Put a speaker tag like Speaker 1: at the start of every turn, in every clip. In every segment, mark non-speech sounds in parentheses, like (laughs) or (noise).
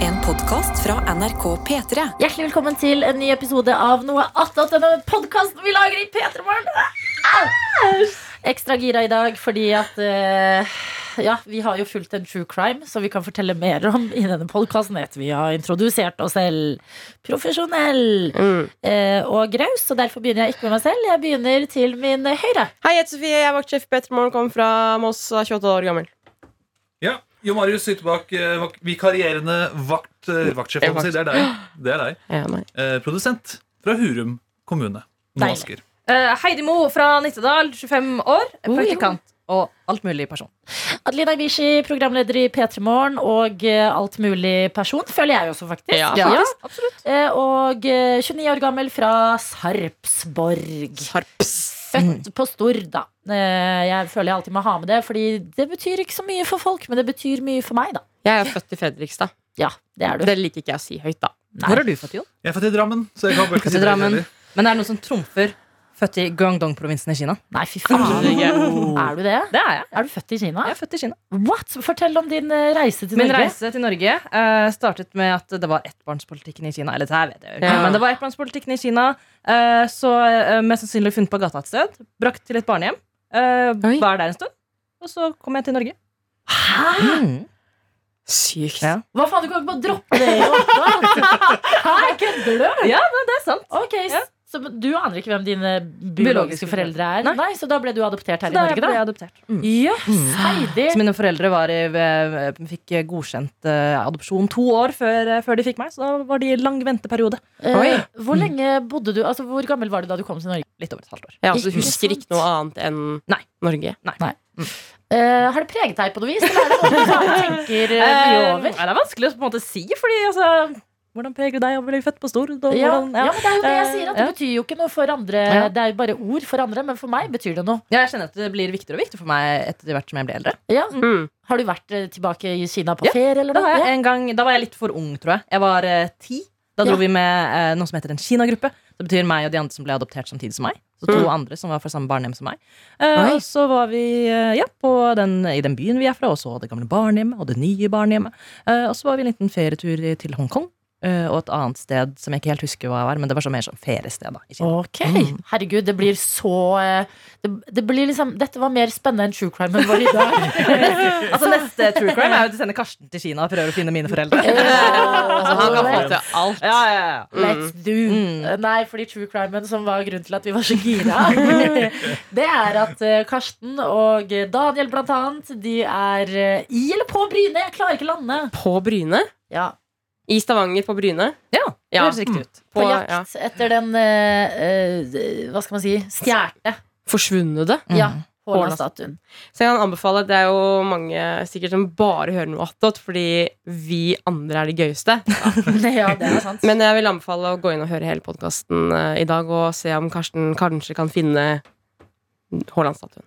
Speaker 1: En podkast fra NRK P3.
Speaker 2: Hjertelig velkommen til en ny episode av Noe attåt. Denne podkasten vi lager i P3 Morgen. Ekstra gira i dag fordi at eh, Ja, vi har jo fulgt en true crime som vi kan fortelle mer om i denne podkasten etter vi har introdusert oss selv. Profesjonell
Speaker 3: Mm.
Speaker 2: eh, og raus, så derfor begynner jeg ikke med meg selv. Jeg begynner til min høyre.
Speaker 3: Hei, jeg heter Sofie. Jeg er vaktsjef i Petter Morgen. Kommer fra Moss, er 28 år gammel.
Speaker 4: Ja, Jo Marius Sytebakk, eh, vak vikarierende vakt, eh, vaktsjef.
Speaker 3: Eh,
Speaker 4: kan man si. Det er deg. Det er deg.
Speaker 3: Ja, nei.
Speaker 4: Eh, produsent fra Hurum kommune. Nå
Speaker 2: Deilig.
Speaker 4: Asker.
Speaker 5: Eh, Heidi Mo fra Nittedal, 25 år. Praktikant og alt mulig person.
Speaker 2: Adelina Ibishi, programleder i P3 Morgen og eh, alt mulig person, føler jeg også, faktisk.
Speaker 3: Ja.
Speaker 5: absolutt.
Speaker 2: Eh, Og eh, 29 år gammel fra Sarpsborg. Født på Stord, da. Eh, Jeg føler jeg alltid må ha med det, Fordi det betyr ikke så mye for folk, men det betyr mye for meg, da.
Speaker 3: Jeg er født i Fredrikstad.
Speaker 2: Ja, det er du.
Speaker 3: Det liker ikke jeg å si høyt, da.
Speaker 5: Hvor er du født, Jon?
Speaker 4: Jeg er født i Drammen, så jeg kan vel ikke si
Speaker 5: Født i
Speaker 4: det
Speaker 5: Drammen.
Speaker 4: heller.
Speaker 5: Men det er noe som trumfer født i Guangdong-provinsen i Kina.
Speaker 2: Nei, fy faen. Er du det?
Speaker 5: Det er jeg.
Speaker 2: Er du født i Kina?
Speaker 5: Jeg er født i Kina.
Speaker 2: What? Fortell om din eh, reise til
Speaker 5: Min
Speaker 2: Norge.
Speaker 5: reise Ah. til Norge eh, startet med at det var ettbarnspolitikken i Kina. Eller det her vet jeg jo ikke,
Speaker 3: Ja.
Speaker 5: men det var ettbarnspolitikken i Kina. eh, så eh, mest sannsynlig funnet på gata et sted. Brakt til et barnehjem. eh,
Speaker 3: Oi.
Speaker 5: var der en stund. Og så kom jeg til Norge.
Speaker 2: Hæ?
Speaker 5: Mm.
Speaker 3: Sykt.
Speaker 5: Ja.
Speaker 2: Hva faen, du kan ikke bare droppe det i åtte?
Speaker 5: (laughs)
Speaker 2: Hæ, kødder du?
Speaker 5: Det er sant.
Speaker 2: Ok, s-
Speaker 5: Ja.
Speaker 2: så du aner ikke hvem dine biologiske
Speaker 5: Biologiske
Speaker 2: foreldre er?
Speaker 5: Nei.
Speaker 2: Nei, så da ble du adoptert her i
Speaker 5: Så da Mm.
Speaker 2: Norge,
Speaker 5: ble
Speaker 2: da?
Speaker 5: jeg adoptert.
Speaker 2: Jøss, Heidi.
Speaker 5: (laughs) Så mine foreldre var i, eh, fikk godkjent eh, adopsjon to år før, eh, før de fikk meg, så da var de i lang venteperiode.
Speaker 2: Eh,
Speaker 5: Mm.
Speaker 2: Hvor lenge bodde du, altså hvor gammel var du da du kom til Norge?
Speaker 5: Litt over et halvt år.
Speaker 3: Jeg altså,
Speaker 2: Ikke
Speaker 3: husker
Speaker 2: sant.
Speaker 3: ikke noe annet enn
Speaker 5: Nei.
Speaker 3: Norge.
Speaker 2: Eh, har det preget deg på noe vis, eller er det noe du
Speaker 5: (laughs)
Speaker 2: bare tenker eh, mye
Speaker 5: Eh,
Speaker 2: over?
Speaker 5: nei, det er vanskelig å på en måte si, fordi altså Hvordan preger deg å bli født på Stord? Og
Speaker 2: Ja,
Speaker 5: hvordan,
Speaker 2: ja,
Speaker 5: ja.
Speaker 2: men det er jo det jeg
Speaker 5: Eh,
Speaker 2: sier, at det
Speaker 5: ja.
Speaker 2: betyr jo ikke noe for andre.
Speaker 5: Ja.
Speaker 2: Det er jo bare ord for andre, men for meg betyr det noe.
Speaker 5: Ja, jeg kjenner at det blir viktigere og viktigere for meg etter hvert som jeg blir eldre.
Speaker 2: Ja.
Speaker 3: Mm.
Speaker 2: Har du vært eh, tilbake i Kina på
Speaker 5: Ja,
Speaker 2: ferie, eller
Speaker 5: Da
Speaker 2: noe?
Speaker 5: var jeg, en gang, da var jeg litt for ung, tror jeg. Jeg var eh, ti. Da dro
Speaker 2: Ja.
Speaker 5: vi med eh, noe som heter en Kina-gruppe. Det betyr meg og de andre som ble adoptert samtidig som meg. Så to
Speaker 3: Mm.
Speaker 5: andre som var fra samme barnehjem som meg. Eh,
Speaker 3: Oi.
Speaker 5: og så var vi eh, ja, på den, i den byen vi er fra, og så det gamle barnehjemmet og det nye barnehjemmet. Eh, og så var vi en liten ferietur i- til Hongkong. eh, Og et annet sted som jeg ikke helt husker hva var, men det var så mer sånn feriested. da, i Kina.
Speaker 2: Ok,
Speaker 5: Mm.
Speaker 2: herregud, det blir så eh, det, det blir liksom, Dette var mer spennende enn true crime enn vår i dag.
Speaker 5: (laughs) Altså Neste true crime er jo å sende Karsten til Kina og prøve å finne mine
Speaker 2: Eh,
Speaker 5: foreldre.
Speaker 3: Altså, han kan få
Speaker 2: Let's-
Speaker 3: til alt.
Speaker 5: Ja, ja, ja.
Speaker 2: Let's do Eh,
Speaker 5: Mm.
Speaker 2: Nei, fordi true crimen som var grunnen til at vi var så gira, det er at eh, Karsten og Daniel blant annet, de er eh, i eller på Bryne. Jeg klarer ikke lande.
Speaker 3: På Bryne?
Speaker 2: Ja,
Speaker 3: I Stavanger, på Bryne?
Speaker 5: (laughs) ja, Mm. det
Speaker 3: Ja.
Speaker 5: høres riktig ut.
Speaker 2: På
Speaker 3: ja.
Speaker 2: jakt etter den eh, eh, Hva skal man si? Stjerte.
Speaker 3: Forsvunnede.
Speaker 2: Ja.
Speaker 5: Mm.
Speaker 2: Haaland-statuen.
Speaker 3: Så jeg kan anbefale Det er jo mange sikkert som bare hører noe attåt, fordi vi andre er de gøyeste.
Speaker 2: (laughs) Ja, det er sant.
Speaker 3: Men jeg vil anbefale å gå inn og høre hele podkasten i dag og se om Karsten kanskje kan finne Haaland-statuen.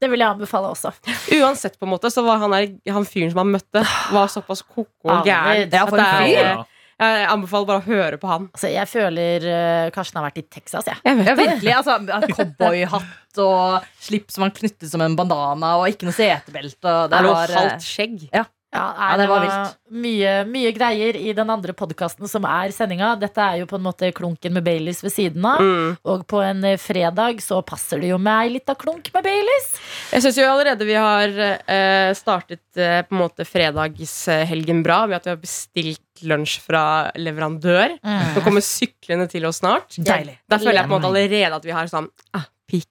Speaker 2: Det vil jeg anbefale også.
Speaker 3: Uansett, på en måte, så var han, der, han fyren som han møtte, var såpass koko og gæren.
Speaker 2: Ja, for en
Speaker 3: at det er-
Speaker 4: Ja.
Speaker 3: Jeg anbefaler bare å høre på han.
Speaker 2: Altså, jeg føler eh, Karsten har vært i Texas, jeg.
Speaker 3: Jeg
Speaker 5: Ja, virkelig. Altså, at Cowboyhatt og slips som han knyttet som en bandana, og ikke noe setebelte. og Det
Speaker 3: er
Speaker 5: var,
Speaker 3: noe
Speaker 5: eh,
Speaker 3: halvt skjegg.
Speaker 2: Ja, nei,
Speaker 5: Ja,
Speaker 2: det
Speaker 5: det
Speaker 2: var
Speaker 5: var
Speaker 2: Mye, mye greier i den andre podkasten som er sendinga. Dette er jo på en måte klunken med Baileys ved siden av.
Speaker 3: Mm.
Speaker 2: Og på en eh, fredag så passer det jo med ei lita klunk med Baileys.
Speaker 3: Jeg syns jo allerede vi har eh, startet eh, på en måte fredagshelgen bra ved at vi har bestilt lunsj fra leverandør. Som kommer syklende til oss snart.
Speaker 5: Deilig.
Speaker 3: Da føler jeg på en måte allerede at vi har sånn ah, peak.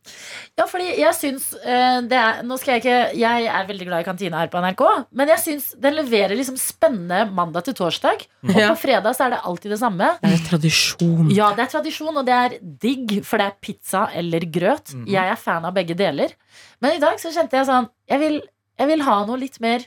Speaker 2: Ja, fordi jeg syns eh, det er, Nå skal jeg ikke Jeg er veldig glad i kantina her på NRK, men jeg syns den leverer liksom spennende mandag til torsdag. Og
Speaker 3: Ja.
Speaker 2: på fredag så er det alltid det samme.
Speaker 3: Det er tradisjon.
Speaker 2: Ja, det er tradisjon, og det er digg, for det er pizza eller grøt.
Speaker 4: Mhm.
Speaker 2: Jeg er fan av begge deler. Men i dag så kjente jeg sånn Jeg vil, jeg vil ha noe litt mer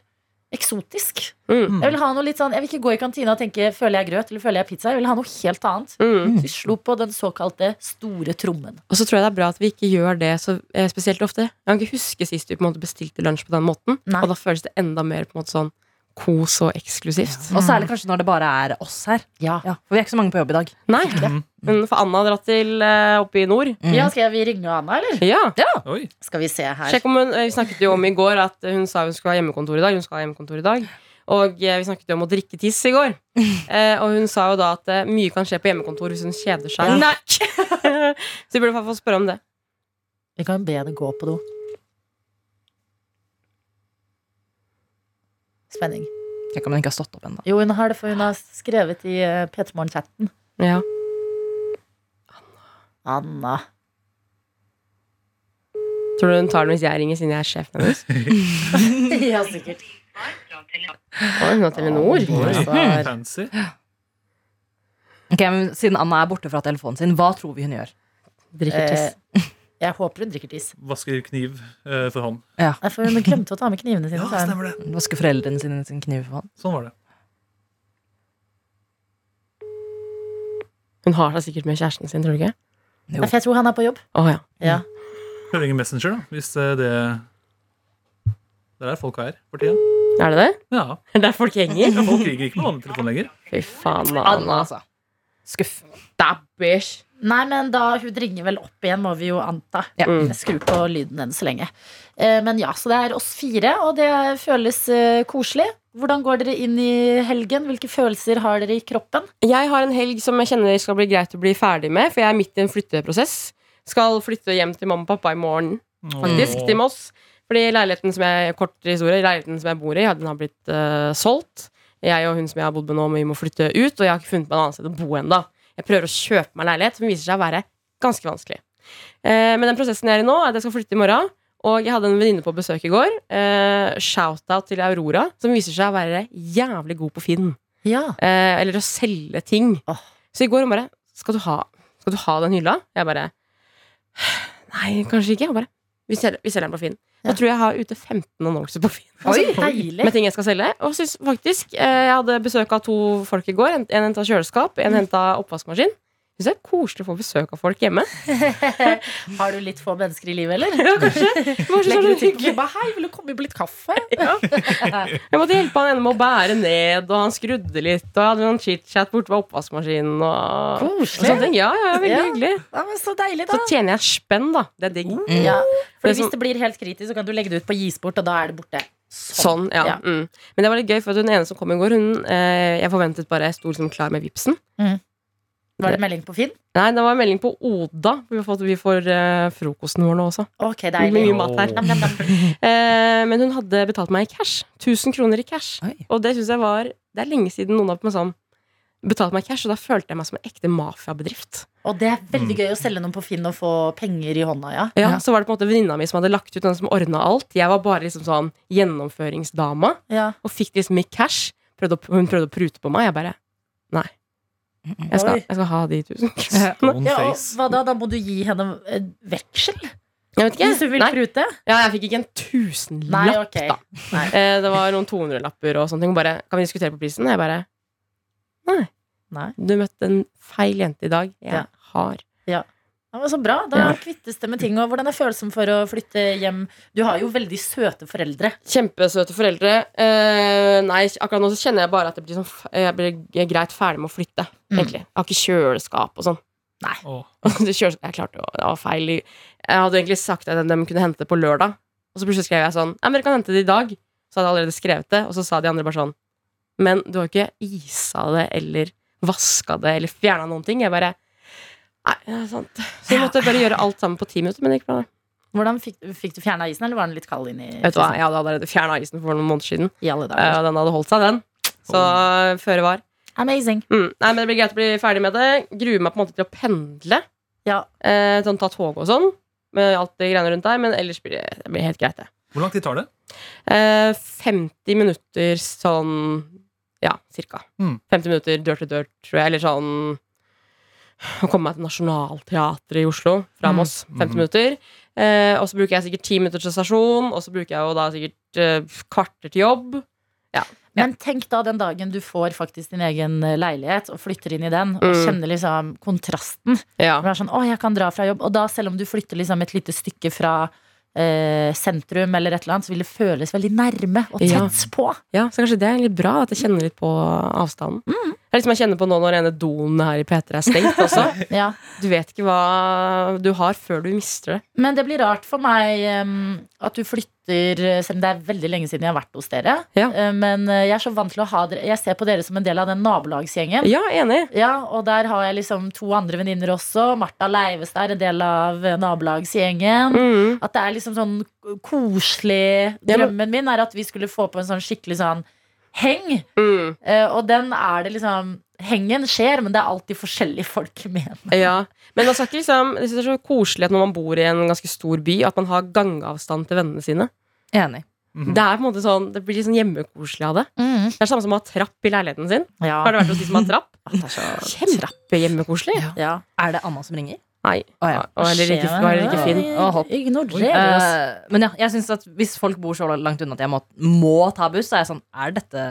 Speaker 2: eksotisk.
Speaker 3: Mm.
Speaker 2: Jeg vil ha noe litt sånn Jeg vil ikke gå i kantina og tenke føler jeg grøt eller føler jeg pizza. Jeg vil ha noe helt annet.
Speaker 3: Mm.
Speaker 2: Vi slo på den såkalte store trommen.
Speaker 3: Og så tror jeg det er bra at vi ikke gjør det så eh, spesielt ofte. Jeg kan ikke huske sist vi på en måte bestilte lunsj på den måten.
Speaker 2: Nei.
Speaker 3: Og da føles det enda mer på en måte sånn kos og eksklusivt.
Speaker 5: Og særlig kanskje når det bare er oss her.
Speaker 2: Ja.
Speaker 5: Ja, for vi er ikke så mange på jobb i dag.
Speaker 3: Nei,
Speaker 4: Mm.
Speaker 3: men for Anna har dratt til eh, oppe i nord.
Speaker 2: ja, skal vi ringe Anna, eller?
Speaker 3: Ja.
Speaker 4: Oi.
Speaker 2: Skal vi se her.
Speaker 3: Sjekk om hun, eh, Vi snakket jo om i går at hun sa hun skulle ha hjemmekontor i dag. Hun skal ha hjemmekontor i dag. Og eh, vi snakket jo om å drikke tiss i går. Eh, og hun sa jo da at eh, mye kan skje på hjemmekontor hvis hun kjeder seg.
Speaker 2: Ja.
Speaker 3: Nei! (laughs) Så vi burde i hvert fall spørre om det.
Speaker 2: Vi kan jo be henne gå på do. Spenning.
Speaker 5: Tenk om den ikke har stått opp ennå.
Speaker 2: Jo, hun har det, for hun har skrevet i eh, P3 Morgen-chatten.
Speaker 3: Ja.
Speaker 2: Anna.
Speaker 3: Tror du hun tar den hvis jeg ringer, siden jeg er sjefen hennes?
Speaker 2: (laughs) ja, sikkert.
Speaker 3: Oi, hun har Telenor.
Speaker 2: Oi.
Speaker 4: Oi, fancy.
Speaker 5: Ok, men Siden Anna er borte fra telefonen sin, hva tror vi hun gjør?
Speaker 3: Drikker tiss.
Speaker 2: Eh, jeg håper hun drikker tiss.
Speaker 4: Vasker kniv eh, for hånd.
Speaker 2: Nei, for hun glemte å ta med knivene sine.
Speaker 4: Ja,
Speaker 2: sa hun.
Speaker 4: stemmer det.
Speaker 5: Vasker foreldrene sine sin kniv for hånd?
Speaker 4: Sånn var det.
Speaker 3: Hun har seg sikkert med kjæresten sin, tror du ikke?
Speaker 2: Nei, for jeg tror han er på jobb.
Speaker 3: Å ja.
Speaker 2: Ja.
Speaker 4: Prøv ingen Messenger, da, hvis eh, det Det er der folk er for tida.
Speaker 3: Er det (laughs) det?
Speaker 4: Ja.
Speaker 3: Er det Der folk henger?
Speaker 4: ja folk kriger ikke med vanlig telefon lenger.
Speaker 3: Fy faen, Anna.
Speaker 5: altså. Skuff.
Speaker 3: Stabbers.
Speaker 2: Nei, men da hun ringer vel opp igjen, må vi jo anta.
Speaker 5: Ja.
Speaker 3: Mm.
Speaker 2: Jeg skrur på lyden enn så lenge. Eh, Men ja, så det er oss fire, og det føles eh, koselig. Hvordan går dere inn i helgen? Hvilke følelser har dere i kroppen?
Speaker 3: Jeg har en helg som jeg kjenner skal bli greit å bli ferdig med, for jeg er midt i en flytteprosess. Skal flytte hjem til mamma og pappa i morgen, faktisk, til Moss. Fordi leiligheten som jeg kort historie, leiligheten som jeg bor i, ja, den har blitt eh, solgt. Jeg og hun som jeg har bodd med nå, vi må flytte ut, og jeg har ikke funnet meg et annet sted å bo ennå. Jeg prøver å kjøpe meg leilighet, som viser seg å være ganske vanskelig. Eh, men den prosessen jeg er i nå, er at jeg skal flytte i morgen. Og jeg hadde en venninne på besøk i går. Eh, Shout-out til Aurora, som viser seg å være jævlig god på Finn
Speaker 2: Ja.
Speaker 3: eh, eller å selge ting.
Speaker 2: Åh.
Speaker 3: Så i går hun bare skal du, ha, 'Skal du ha den hylla?' Jeg bare Nei, kanskje ikke. Jeg bare, vi, selger, vi selger den på Finn.
Speaker 2: Ja.
Speaker 3: Da tror jeg jeg har ute 15 annonser på Finn
Speaker 2: Oi, Altså, deilig.
Speaker 3: med ting jeg skal selge. Og synes faktisk, eh, Jeg hadde besøk av to folk i går. En, en henta kjøleskap, en
Speaker 2: Mm.
Speaker 3: henta oppvaskmaskin. Syns det er koselig å få besøk av folk hjemme.
Speaker 2: Har du litt få mennesker i livet, eller?
Speaker 3: Ja, kanskje. Kanskje sånn
Speaker 2: Legger ut
Speaker 3: hyggelig.
Speaker 2: hyggelig bare Hei, vil du komme på litt kaffe?
Speaker 3: Jeg måtte hjelpe han ene med å bære ned, og han skrudde litt. Og jeg hadde noen chit-chat borte ved oppvaskmaskinen. Og, og sånne
Speaker 2: Koselig.
Speaker 3: ting. Ja, ja, veldig
Speaker 2: Ja.
Speaker 3: hyggelig.
Speaker 2: Sånn. Ja, men så deilig, da.
Speaker 3: Så tjener jeg et spenn, da. Det er digg.
Speaker 2: Ja. For
Speaker 3: Mm. Det som-
Speaker 2: hvis det blir helt kritisk, så kan du legge det ut på Gisport, og da er det borte.
Speaker 3: Sånn, ja,
Speaker 2: Ja.
Speaker 3: Mm. Men det var litt gøy, for at hun ene som kom i går, hun, eh, jeg forventet bare jeg sto liksom klar med vipsen.
Speaker 2: Var det melding på Finn?
Speaker 3: Nei, det var en melding på Oda. Vi, har fått, vi får eh, frokosten vår nå også.
Speaker 2: Ok,
Speaker 3: Mye
Speaker 2: deilig.
Speaker 3: mat her.
Speaker 2: Nam, nam, nam.
Speaker 3: Eh, men hun hadde betalt meg i cash. 1000 kroner i cash.
Speaker 5: Oi.
Speaker 3: Og det synes jeg var Det er lenge siden noen har på meg sånn betalt meg i cash, og da følte jeg meg som en ekte mafiabedrift.
Speaker 2: Og det er veldig gøy å selge noen på Finn og få penger i hånda, ja.
Speaker 3: Mm. Ja, Så var det på en måte venninna mi som hadde lagt ut, den som ordna alt. Jeg var bare liksom sånn gjennomføringsdama.
Speaker 2: ja.
Speaker 3: og fikk liksom ikke cash. Prøvde å, hun prøvde å prute på meg. Jeg bare Nei. Jeg skal,
Speaker 2: Oi.
Speaker 3: jeg skal ha de 1000
Speaker 2: (laughs)
Speaker 5: Ja.
Speaker 3: kronene.
Speaker 4: On
Speaker 2: Ja, og
Speaker 4: face.
Speaker 2: hva da? Da må du gi henne eh, veksel?
Speaker 3: Jeg vet
Speaker 2: Hvis du
Speaker 3: ikke.
Speaker 2: vil
Speaker 3: Nei.
Speaker 2: prute?
Speaker 3: Ja, jeg fikk ikke en
Speaker 2: Nei,
Speaker 3: tusenlapp,
Speaker 2: ok.
Speaker 3: da.
Speaker 2: Nei.
Speaker 3: Eh, det var noen 200-lapper og sånne ting. Hun bare Kan vi diskutere på prisen? Jeg bare Nei.
Speaker 2: Nei.
Speaker 3: Du møtte en feil jente i dag. Jeg
Speaker 2: Ja.
Speaker 3: har
Speaker 2: Ja, men så bra. Da
Speaker 3: Ja.
Speaker 2: kvittes det med ting. Og hvordan er følelsen for å flytte hjem? Du har jo veldig søte foreldre.
Speaker 3: Kjempesøte foreldre. Eh, nei, akkurat nå så kjenner jeg bare at det blir sånn, f- jeg blir greit ferdig med å flytte.
Speaker 2: Mm.
Speaker 3: Egentlig. Jeg har ikke kjøleskap og sånn.
Speaker 4: Åh.
Speaker 3: Og (laughs) det kjøles- Jeg klarte å, det var feil i- Jeg hadde egentlig sagt at de kunne hente det på lørdag Og så plutselig skrev jeg sånn Ja, men dere kan hente det i dag Så hadde jeg allerede skrevet det Og så sa de andre bare sånn Men du har ikke isa det Eller vaska det Eller fjernet noen ting Jeg bare Nei, det er sant Så jeg måtte bare gjøre alt sammen på ti minutter Men det gikk bra
Speaker 2: Hvordan Fikk, fikk du fjerna isen, eller var den litt kald inni
Speaker 3: Vet du hva, jeg hadde allerede fjernet isen for noen måneder siden
Speaker 2: i alle
Speaker 3: eh,
Speaker 2: dager?
Speaker 3: Og den hadde holdt seg den Så eh, før det var
Speaker 2: Amazing.
Speaker 3: mm. Nei, men det blir greit å bli ferdig med det Gruer meg på en måte til å pendle
Speaker 2: Ja.
Speaker 3: Eh, sånn ta tog og sånn. Med alt det greiene rundt der. Men ellers blir det, det blir helt greit, det.
Speaker 4: Hvor lang tid tar det?
Speaker 3: Eh, 50 minutter sånn Ja, cirka.
Speaker 4: Mm.
Speaker 3: 50 minutter dør til dør, tror jeg. Eller sånn Å komme meg til Nationaltheatret i Oslo fra
Speaker 2: Mm.
Speaker 3: Moss. 50
Speaker 4: Mhm.
Speaker 3: minutter. Eh, og så bruker jeg sikkert 10 minutter til stasjon, og så bruker jeg jo da sikkert eh, kvarter til jobb.
Speaker 2: Men tenk da den dagen du får faktisk din egen eh, leilighet og flytter inn i den, og
Speaker 3: Mm.
Speaker 2: kjenner liksom kontrasten.
Speaker 3: Ja.
Speaker 2: Det er sånn, å, jeg kan dra fra jobb. Og da, selv om du flytter liksom et lite stykke fra eh, sentrum eller et eller annet, så vil det føles veldig nærme og
Speaker 3: Ja.
Speaker 2: tett på.
Speaker 3: ja, Så kanskje det er litt bra at jeg kjenner litt på avstanden. Det er liksom jeg kjenner på nå når ene doen her i P3 er stengt også.
Speaker 2: Ja.
Speaker 3: Du vet ikke hva du har før du mister det.
Speaker 2: Men det blir rart for meg em, at du flytter Selv om det er veldig lenge siden jeg har vært hos dere.
Speaker 3: Ja.
Speaker 2: Eh, men eh, jeg er så vant til å ha dere Jeg ser på dere som en del av den nabolagsgjengen.
Speaker 3: Ja, enig.
Speaker 2: Ja, og der har jeg liksom to andre venninner også. Martha Leivestad er en del av eh, nabolagsgjengen.
Speaker 3: Mm.
Speaker 2: At det er liksom sånn k- koselig
Speaker 3: Ja, men-
Speaker 2: Drømmen min er at vi skulle få på en sånn skikkelig sånn heng.
Speaker 3: Mm.
Speaker 2: Eh, og den er det liksom Hengen skjer, men det er alltid forskjellige folk med.
Speaker 3: Ja. Men altså, ikke liksom, jeg synes det er så koselig at når man bor i en ganske stor by, at man har gangavstand til vennene sine.
Speaker 5: Enig.
Speaker 4: Mhm.
Speaker 3: Det er på en måte sånn, det blir litt sånn hjemmekoselig av det.
Speaker 5: Mm.
Speaker 3: Det er det samme som å ha trapp i leiligheten sin.
Speaker 2: Ja.
Speaker 3: Har det vært hos de som har trapp?
Speaker 2: Det er så
Speaker 3: Kjempehjemmekoselig.
Speaker 5: Ja.
Speaker 2: ja.
Speaker 5: Er det Anna som ringer?
Speaker 3: Nei.
Speaker 5: Å ja.
Speaker 3: Og heller ikke, og heller ikke Finn.
Speaker 5: Å, hopp.
Speaker 2: Ignorerer oss.
Speaker 5: Eh, men ja, jeg synes at hvis folk bor så langt unna at jeg må, må ta buss, så er jeg sånn Er dette,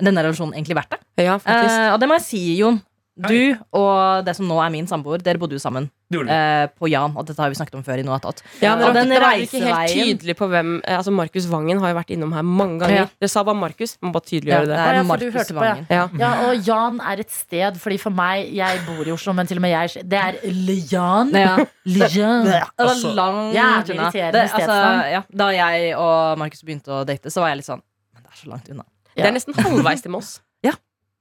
Speaker 5: denne relasjonen egentlig verdt det?
Speaker 3: Ja, faktisk.
Speaker 5: Eh, og det må jeg si, Jon. Du og det som nå er min samboer, dere bodde jo sammen
Speaker 4: Det gjorde det.
Speaker 5: eh, på Jan. Og dette har vi snakket om før i noe annet.
Speaker 3: Ja, men
Speaker 5: Og
Speaker 3: det
Speaker 5: den
Speaker 3: var vel ikke helt
Speaker 5: reiseveien-
Speaker 3: tydelig på hvem eh, Altså, Markus Vangen har jo vært innom her mange ganger.
Speaker 5: Ja.
Speaker 3: Dere sa bare Markus. Man må bare tydeliggjøre
Speaker 5: det
Speaker 2: Å, ja,
Speaker 5: er
Speaker 2: for du hørte
Speaker 5: Markus
Speaker 2: på, ja.
Speaker 5: Vangen.
Speaker 3: det. Ja.
Speaker 2: Ja, og Jan er et sted, fordi for meg Jeg bor i Oslo, men til og med jeg Det er Lian.
Speaker 5: Ja.
Speaker 2: Lian.
Speaker 5: Det var
Speaker 4: Altså,
Speaker 5: langt
Speaker 2: jævlig
Speaker 5: unna.
Speaker 2: irriterende
Speaker 5: Det, altså,
Speaker 2: stedsnavn.
Speaker 5: ja, da jeg og Markus begynte å date, så var jeg litt sånn Men det er så langt unna.
Speaker 3: Det er nesten halvveis til Moss.
Speaker 5: (laughs) Ja.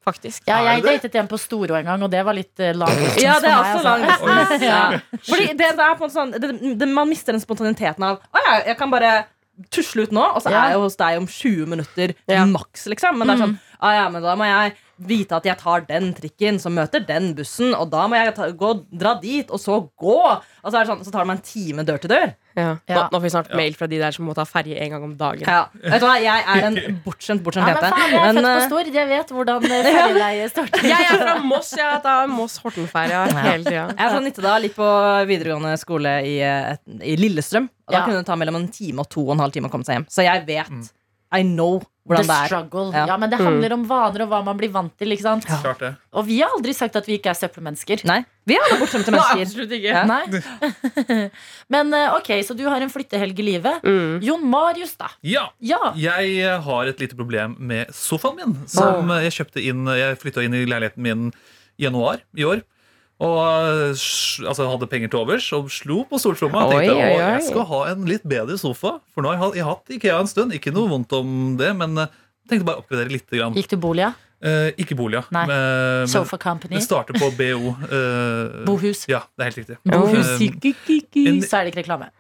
Speaker 3: Faktisk.
Speaker 2: Ja, jeg
Speaker 4: Er det
Speaker 2: datet en på Storå en gang, og det var litt eh, lang distance
Speaker 5: Ja, det er
Speaker 2: for meg,
Speaker 5: også
Speaker 2: altså.
Speaker 5: lang distance.
Speaker 2: (laughs) Ja.
Speaker 5: Ja. Fordi det, det er på en sånn det, det, Man mister den spontaniteten av Å ja, jeg kan bare tusle ut nå, og så
Speaker 2: Ja. Mm.
Speaker 5: er jeg hos deg om 20 minutter
Speaker 3: Ja.
Speaker 5: maks, liksom. Men det er sånn Å ja, men da må jeg vite at jeg tar den trikken som møter den bussen, og da må jeg ta, gå, dra dit, og så gå. Og så er det sånn, så tar det meg en time dør til dør.
Speaker 3: Ja. Nå,
Speaker 2: Ja.
Speaker 3: nå får vi snart mail fra de der som må ta ferje en gang om dagen.
Speaker 5: Ja. Vet du hva, jeg er en bortskjemt,
Speaker 2: Ja,
Speaker 5: bortskjemt
Speaker 2: men faen, jeg er
Speaker 5: Men,
Speaker 2: født på
Speaker 5: eh,
Speaker 2: Stor. Jeg vet hvordan
Speaker 5: (laughs)
Speaker 2: eh, ferjeleie starter.
Speaker 3: (laughs) Jeg er fra Moss. Jeg tar Moss-Hortenferja hele tida.
Speaker 5: Jeg er fra Nittedal, gikk på videregående skole i, eh, et- i Lillestrøm. Og da
Speaker 2: Ja.
Speaker 5: kunne det ta mellom en time og to og en halv time å komme seg hjem. Så jeg vet. I know
Speaker 2: The
Speaker 5: hvordan det er.
Speaker 2: struggle.
Speaker 5: Ja. Mm.
Speaker 2: Ja, men det handler om vaner og hva man blir vant til. Ikke sant?
Speaker 4: Klart det.
Speaker 2: Og vi har aldri sagt at vi ikke er søppelmennesker.
Speaker 5: Nei, Vi er alle bortskjemte mennesker.
Speaker 3: Absolutt ikke.
Speaker 5: Ja.
Speaker 2: Nei. (laughs) Men eh, ok, så du har en flyttehelg i livet.
Speaker 3: Mm.
Speaker 2: Jon Marius, da.
Speaker 4: Ja!
Speaker 2: Ja.
Speaker 4: Jeg eh, har et lite problem med sofaen min.
Speaker 2: Ah.
Speaker 4: Som eh, jeg kjøpte inn Jeg flytta inn i leiligheten min i januar i år. Og eh, s- altså, hadde penger til overs og slo på stortromma.
Speaker 3: Oi,
Speaker 4: Jeg tenkte
Speaker 3: oi,
Speaker 4: å,
Speaker 3: oi.
Speaker 4: jeg skal ha en litt bedre sofa, for nå har jeg hatt- jeg har hatt Ikea en stund. Ikke noe vondt om det, men eh, tenkte bare å oppgradere litt. Grann.
Speaker 2: Gikk du bolia?
Speaker 4: Eh, ikke boliga.
Speaker 2: Nei.
Speaker 4: men-
Speaker 2: Sofa Company?
Speaker 4: Det starter på BO. eh,
Speaker 2: Bohus.
Speaker 4: Ja, det er
Speaker 2: (laughs)
Speaker 4: helt riktig.
Speaker 2: Bohus.
Speaker 4: Eh,
Speaker 2: Ikke-
Speaker 4: en-
Speaker 2: Så er det ikke reklame.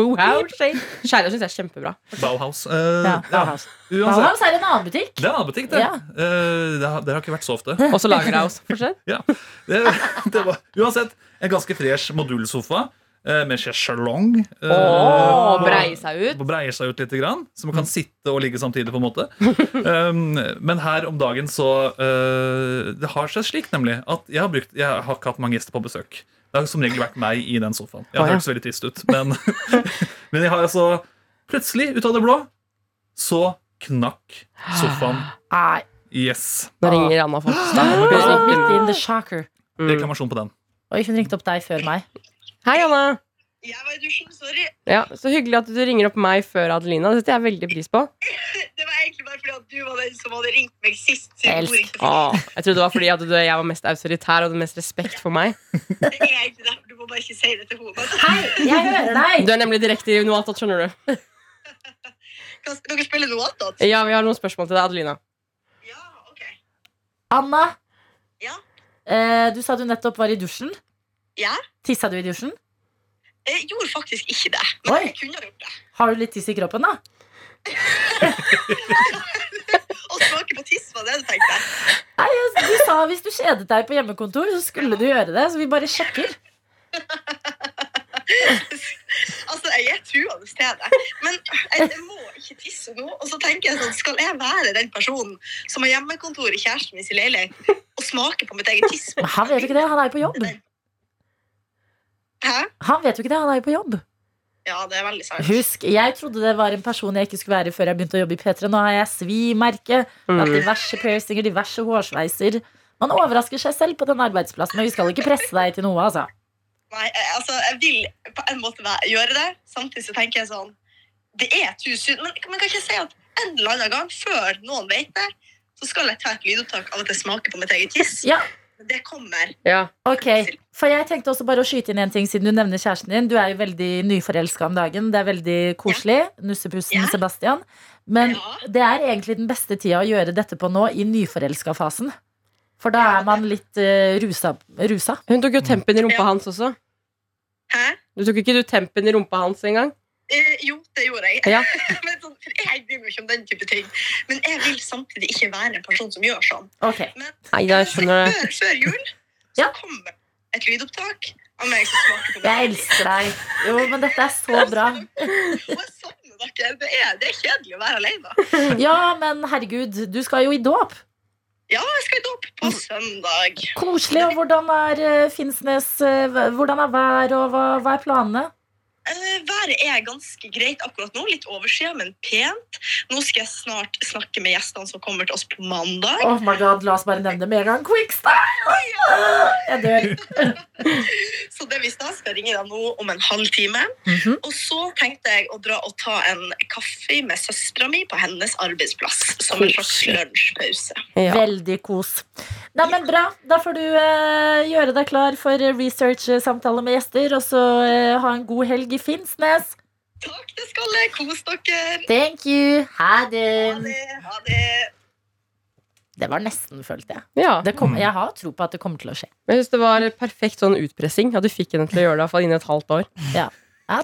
Speaker 3: Bohouse. Skjæra syns jeg er kjempebra.
Speaker 4: Bauhaus. Eh,
Speaker 2: Ja,
Speaker 4: ja,
Speaker 2: Bauhaus.
Speaker 4: uansett.
Speaker 2: Bauhaus er en annen butikk.
Speaker 4: Det er en annen butikk, det.
Speaker 2: Ja.
Speaker 4: Eh, det, har, det har ikke vært så ofte.
Speaker 3: Også Lagerhaus. Fortsett.
Speaker 4: Ja. Det, det var, uansett, en ganske fresh modulsofa eh, med sjeselong. eh,
Speaker 3: Åh,
Speaker 4: og-
Speaker 3: brei seg ut.
Speaker 4: og Breier seg ut litt, grann, så man kan sitte og ligge samtidig, på en måte. Um, men her om dagen så eh, Det har seg slik, nemlig, at jeg har, brukt, jeg har ikke hatt mange gjester på besøk. Det har som regel vært meg i den sofaen. Jeg
Speaker 3: Å, ja.
Speaker 4: har hørtes veldig trist ut, men, (laughs) men jeg har altså plutselig, ut av det blå, så knakk sofaen.
Speaker 2: Nei.
Speaker 4: Yes.
Speaker 3: Nå ringer Anna
Speaker 2: Hun
Speaker 3: Folkestad.
Speaker 2: gikk midt in the shocker.
Speaker 3: Mm.
Speaker 4: Reklamasjon på den.
Speaker 2: Oi, hun ringte opp deg før meg.
Speaker 3: Hei, Anna.
Speaker 6: Jeg var i dusjen, sorry.
Speaker 3: Ja, så hyggelig at du ringer opp meg før Adelina. Det setter jeg veldig pris på.
Speaker 6: Det var egentlig bare fordi at du var den som hadde ringt meg sist. så
Speaker 2: Elsk.
Speaker 6: Jeg gjorde ikke
Speaker 3: Åh, jeg trodde det var fordi at du, jeg var mest autoritær og hadde mest respekt for meg.
Speaker 6: det. Det er egentlig derfor du må bare ikke si det til henne.
Speaker 2: Hei, jeg hører deg!
Speaker 3: Du er nemlig direkte i Noatot, skjønner du.
Speaker 6: Altså, Kan dere spille noe annet?
Speaker 3: Ja, vi har noen spørsmål til deg, Adelina.
Speaker 6: Ja, ok.
Speaker 2: Anna,
Speaker 6: Ja?
Speaker 2: eh, du sa du nettopp var i dusjen.
Speaker 6: Ja?
Speaker 2: Tissa du i dusjen?
Speaker 6: Jeg gjorde faktisk ikke det, men
Speaker 2: Oi.
Speaker 6: jeg kunne ha gjort det.
Speaker 2: Har du litt tiss i kroppen, da?
Speaker 6: Å smake på tiss var det du tenkte.
Speaker 2: Nei, jeg- Du sa hvis du kjedet deg på hjemmekontor, så skulle du gjøre det. Så vi bare sjekker.
Speaker 6: Altså, jeg er truende til det. Men jeg, jeg må ikke tisse nå. Og så tenker jeg sånn, skal jeg være den personen som har hjemmekontor i kjæresten min sin leilighet, og smake på mitt eget tiss?
Speaker 2: Men han vet jo ikke det. Han er jo på jobb.
Speaker 6: Hæ?
Speaker 2: Han vet jo ikke det, han er jo på jobb.
Speaker 6: Ja, det er veldig sant.
Speaker 2: Husk, jeg trodde det var en person jeg ikke skulle være før jeg begynte å jobbe i P3. Nå har jeg svimerke, mm.
Speaker 3: Mm.
Speaker 2: diverse piercinger, diverse hårsveiser. Man overrasker seg selv på den arbeidsplassen, men vi skal ikke presse deg til noe, altså.
Speaker 6: Nei, eh, altså, jeg vil på en måte væ- gjøre det. Samtidig så tenker jeg sånn Det er tusen Men man kan ikke si at en eller annen gang, før noen vet det, så skal jeg ta et lydopptak av at jeg smaker på mitt eget tiss.
Speaker 2: Ja.
Speaker 6: Men Det kommer.
Speaker 3: Ja.
Speaker 2: Ok, for jeg tenkte også bare å skyte inn en ting Siden du nevner kjæresten din Du er jo veldig nyforelska om dagen Det er veldig koselig Nussepussen
Speaker 6: Ja.
Speaker 2: Sebastian Men
Speaker 6: Ja.
Speaker 2: det er egentlig den beste tida å gjøre dette på nå I nyforelska fasen For da
Speaker 6: Ja,
Speaker 2: er man litt eh, rusa, rusa
Speaker 3: Hun tok jo tempen i rumpa
Speaker 6: Ja.
Speaker 3: hans også.
Speaker 6: Hæ?
Speaker 3: Du tok ikke du tempen i rumpa hans engang?
Speaker 6: Eh, jo, det gjorde jeg.
Speaker 3: Ja.
Speaker 6: (laughs) Men sånn, for jeg bryr meg ikke om den type ting. Men jeg vil samtidig ikke være en person som gjør sånn.
Speaker 2: Ok,
Speaker 3: Nei, jeg skjønner det.
Speaker 6: Før, før jul så
Speaker 2: Ja.
Speaker 6: kommer et lydopptak av meg som smaker
Speaker 2: jeg
Speaker 6: på meg.
Speaker 2: elsker deg Jo, men dette er så bra
Speaker 6: Og jeg savner dere. Det er, det er kjedelig å være alene.
Speaker 2: Ja, men herregud, du skal jo i dåp
Speaker 6: Ja, jeg skal ut opp på søndag.
Speaker 2: Koselig, og hvordan er eh, Finnsnes eh, hv- Hvordan er vær, og hva, hva er planene?
Speaker 6: Eh, været er ganske greit akkurat nå. Litt overskyet, men pent. Nå skal jeg snart snakke med gjestene som kommer til oss på mandag.
Speaker 2: Oh my god, la oss bare nevne det med en gang. Quickstyle! Jeg dør.
Speaker 6: Så det visste jeg. Skal jeg ringe deg nå om en halvtime. Og så tenkte jeg å dra og ta en kaffe med søstera mi på hennes arbeidsplass. Som en slags lunsjpause.
Speaker 3: Ja.
Speaker 2: Veldig kos. Nei, men bra. Da får du eh, gjøre deg klar for eh, research-samtale med gjester, og så eh, ha en god helg i Finnsnes.
Speaker 6: Takk, det skal jeg. Kos dere.
Speaker 2: Thank you. Ha
Speaker 6: Ha
Speaker 2: det.
Speaker 6: det. Ha det.
Speaker 2: Det var nesten, følte jeg.
Speaker 3: (laughs) ja.
Speaker 2: Det kom, jeg har tro på at det kommer til å skje.
Speaker 3: Men Jeg synes det var perfekt sånn utpressing. At du fikk henne til å gjøre det i hvert fall innen et halvt år.
Speaker 2: Ja,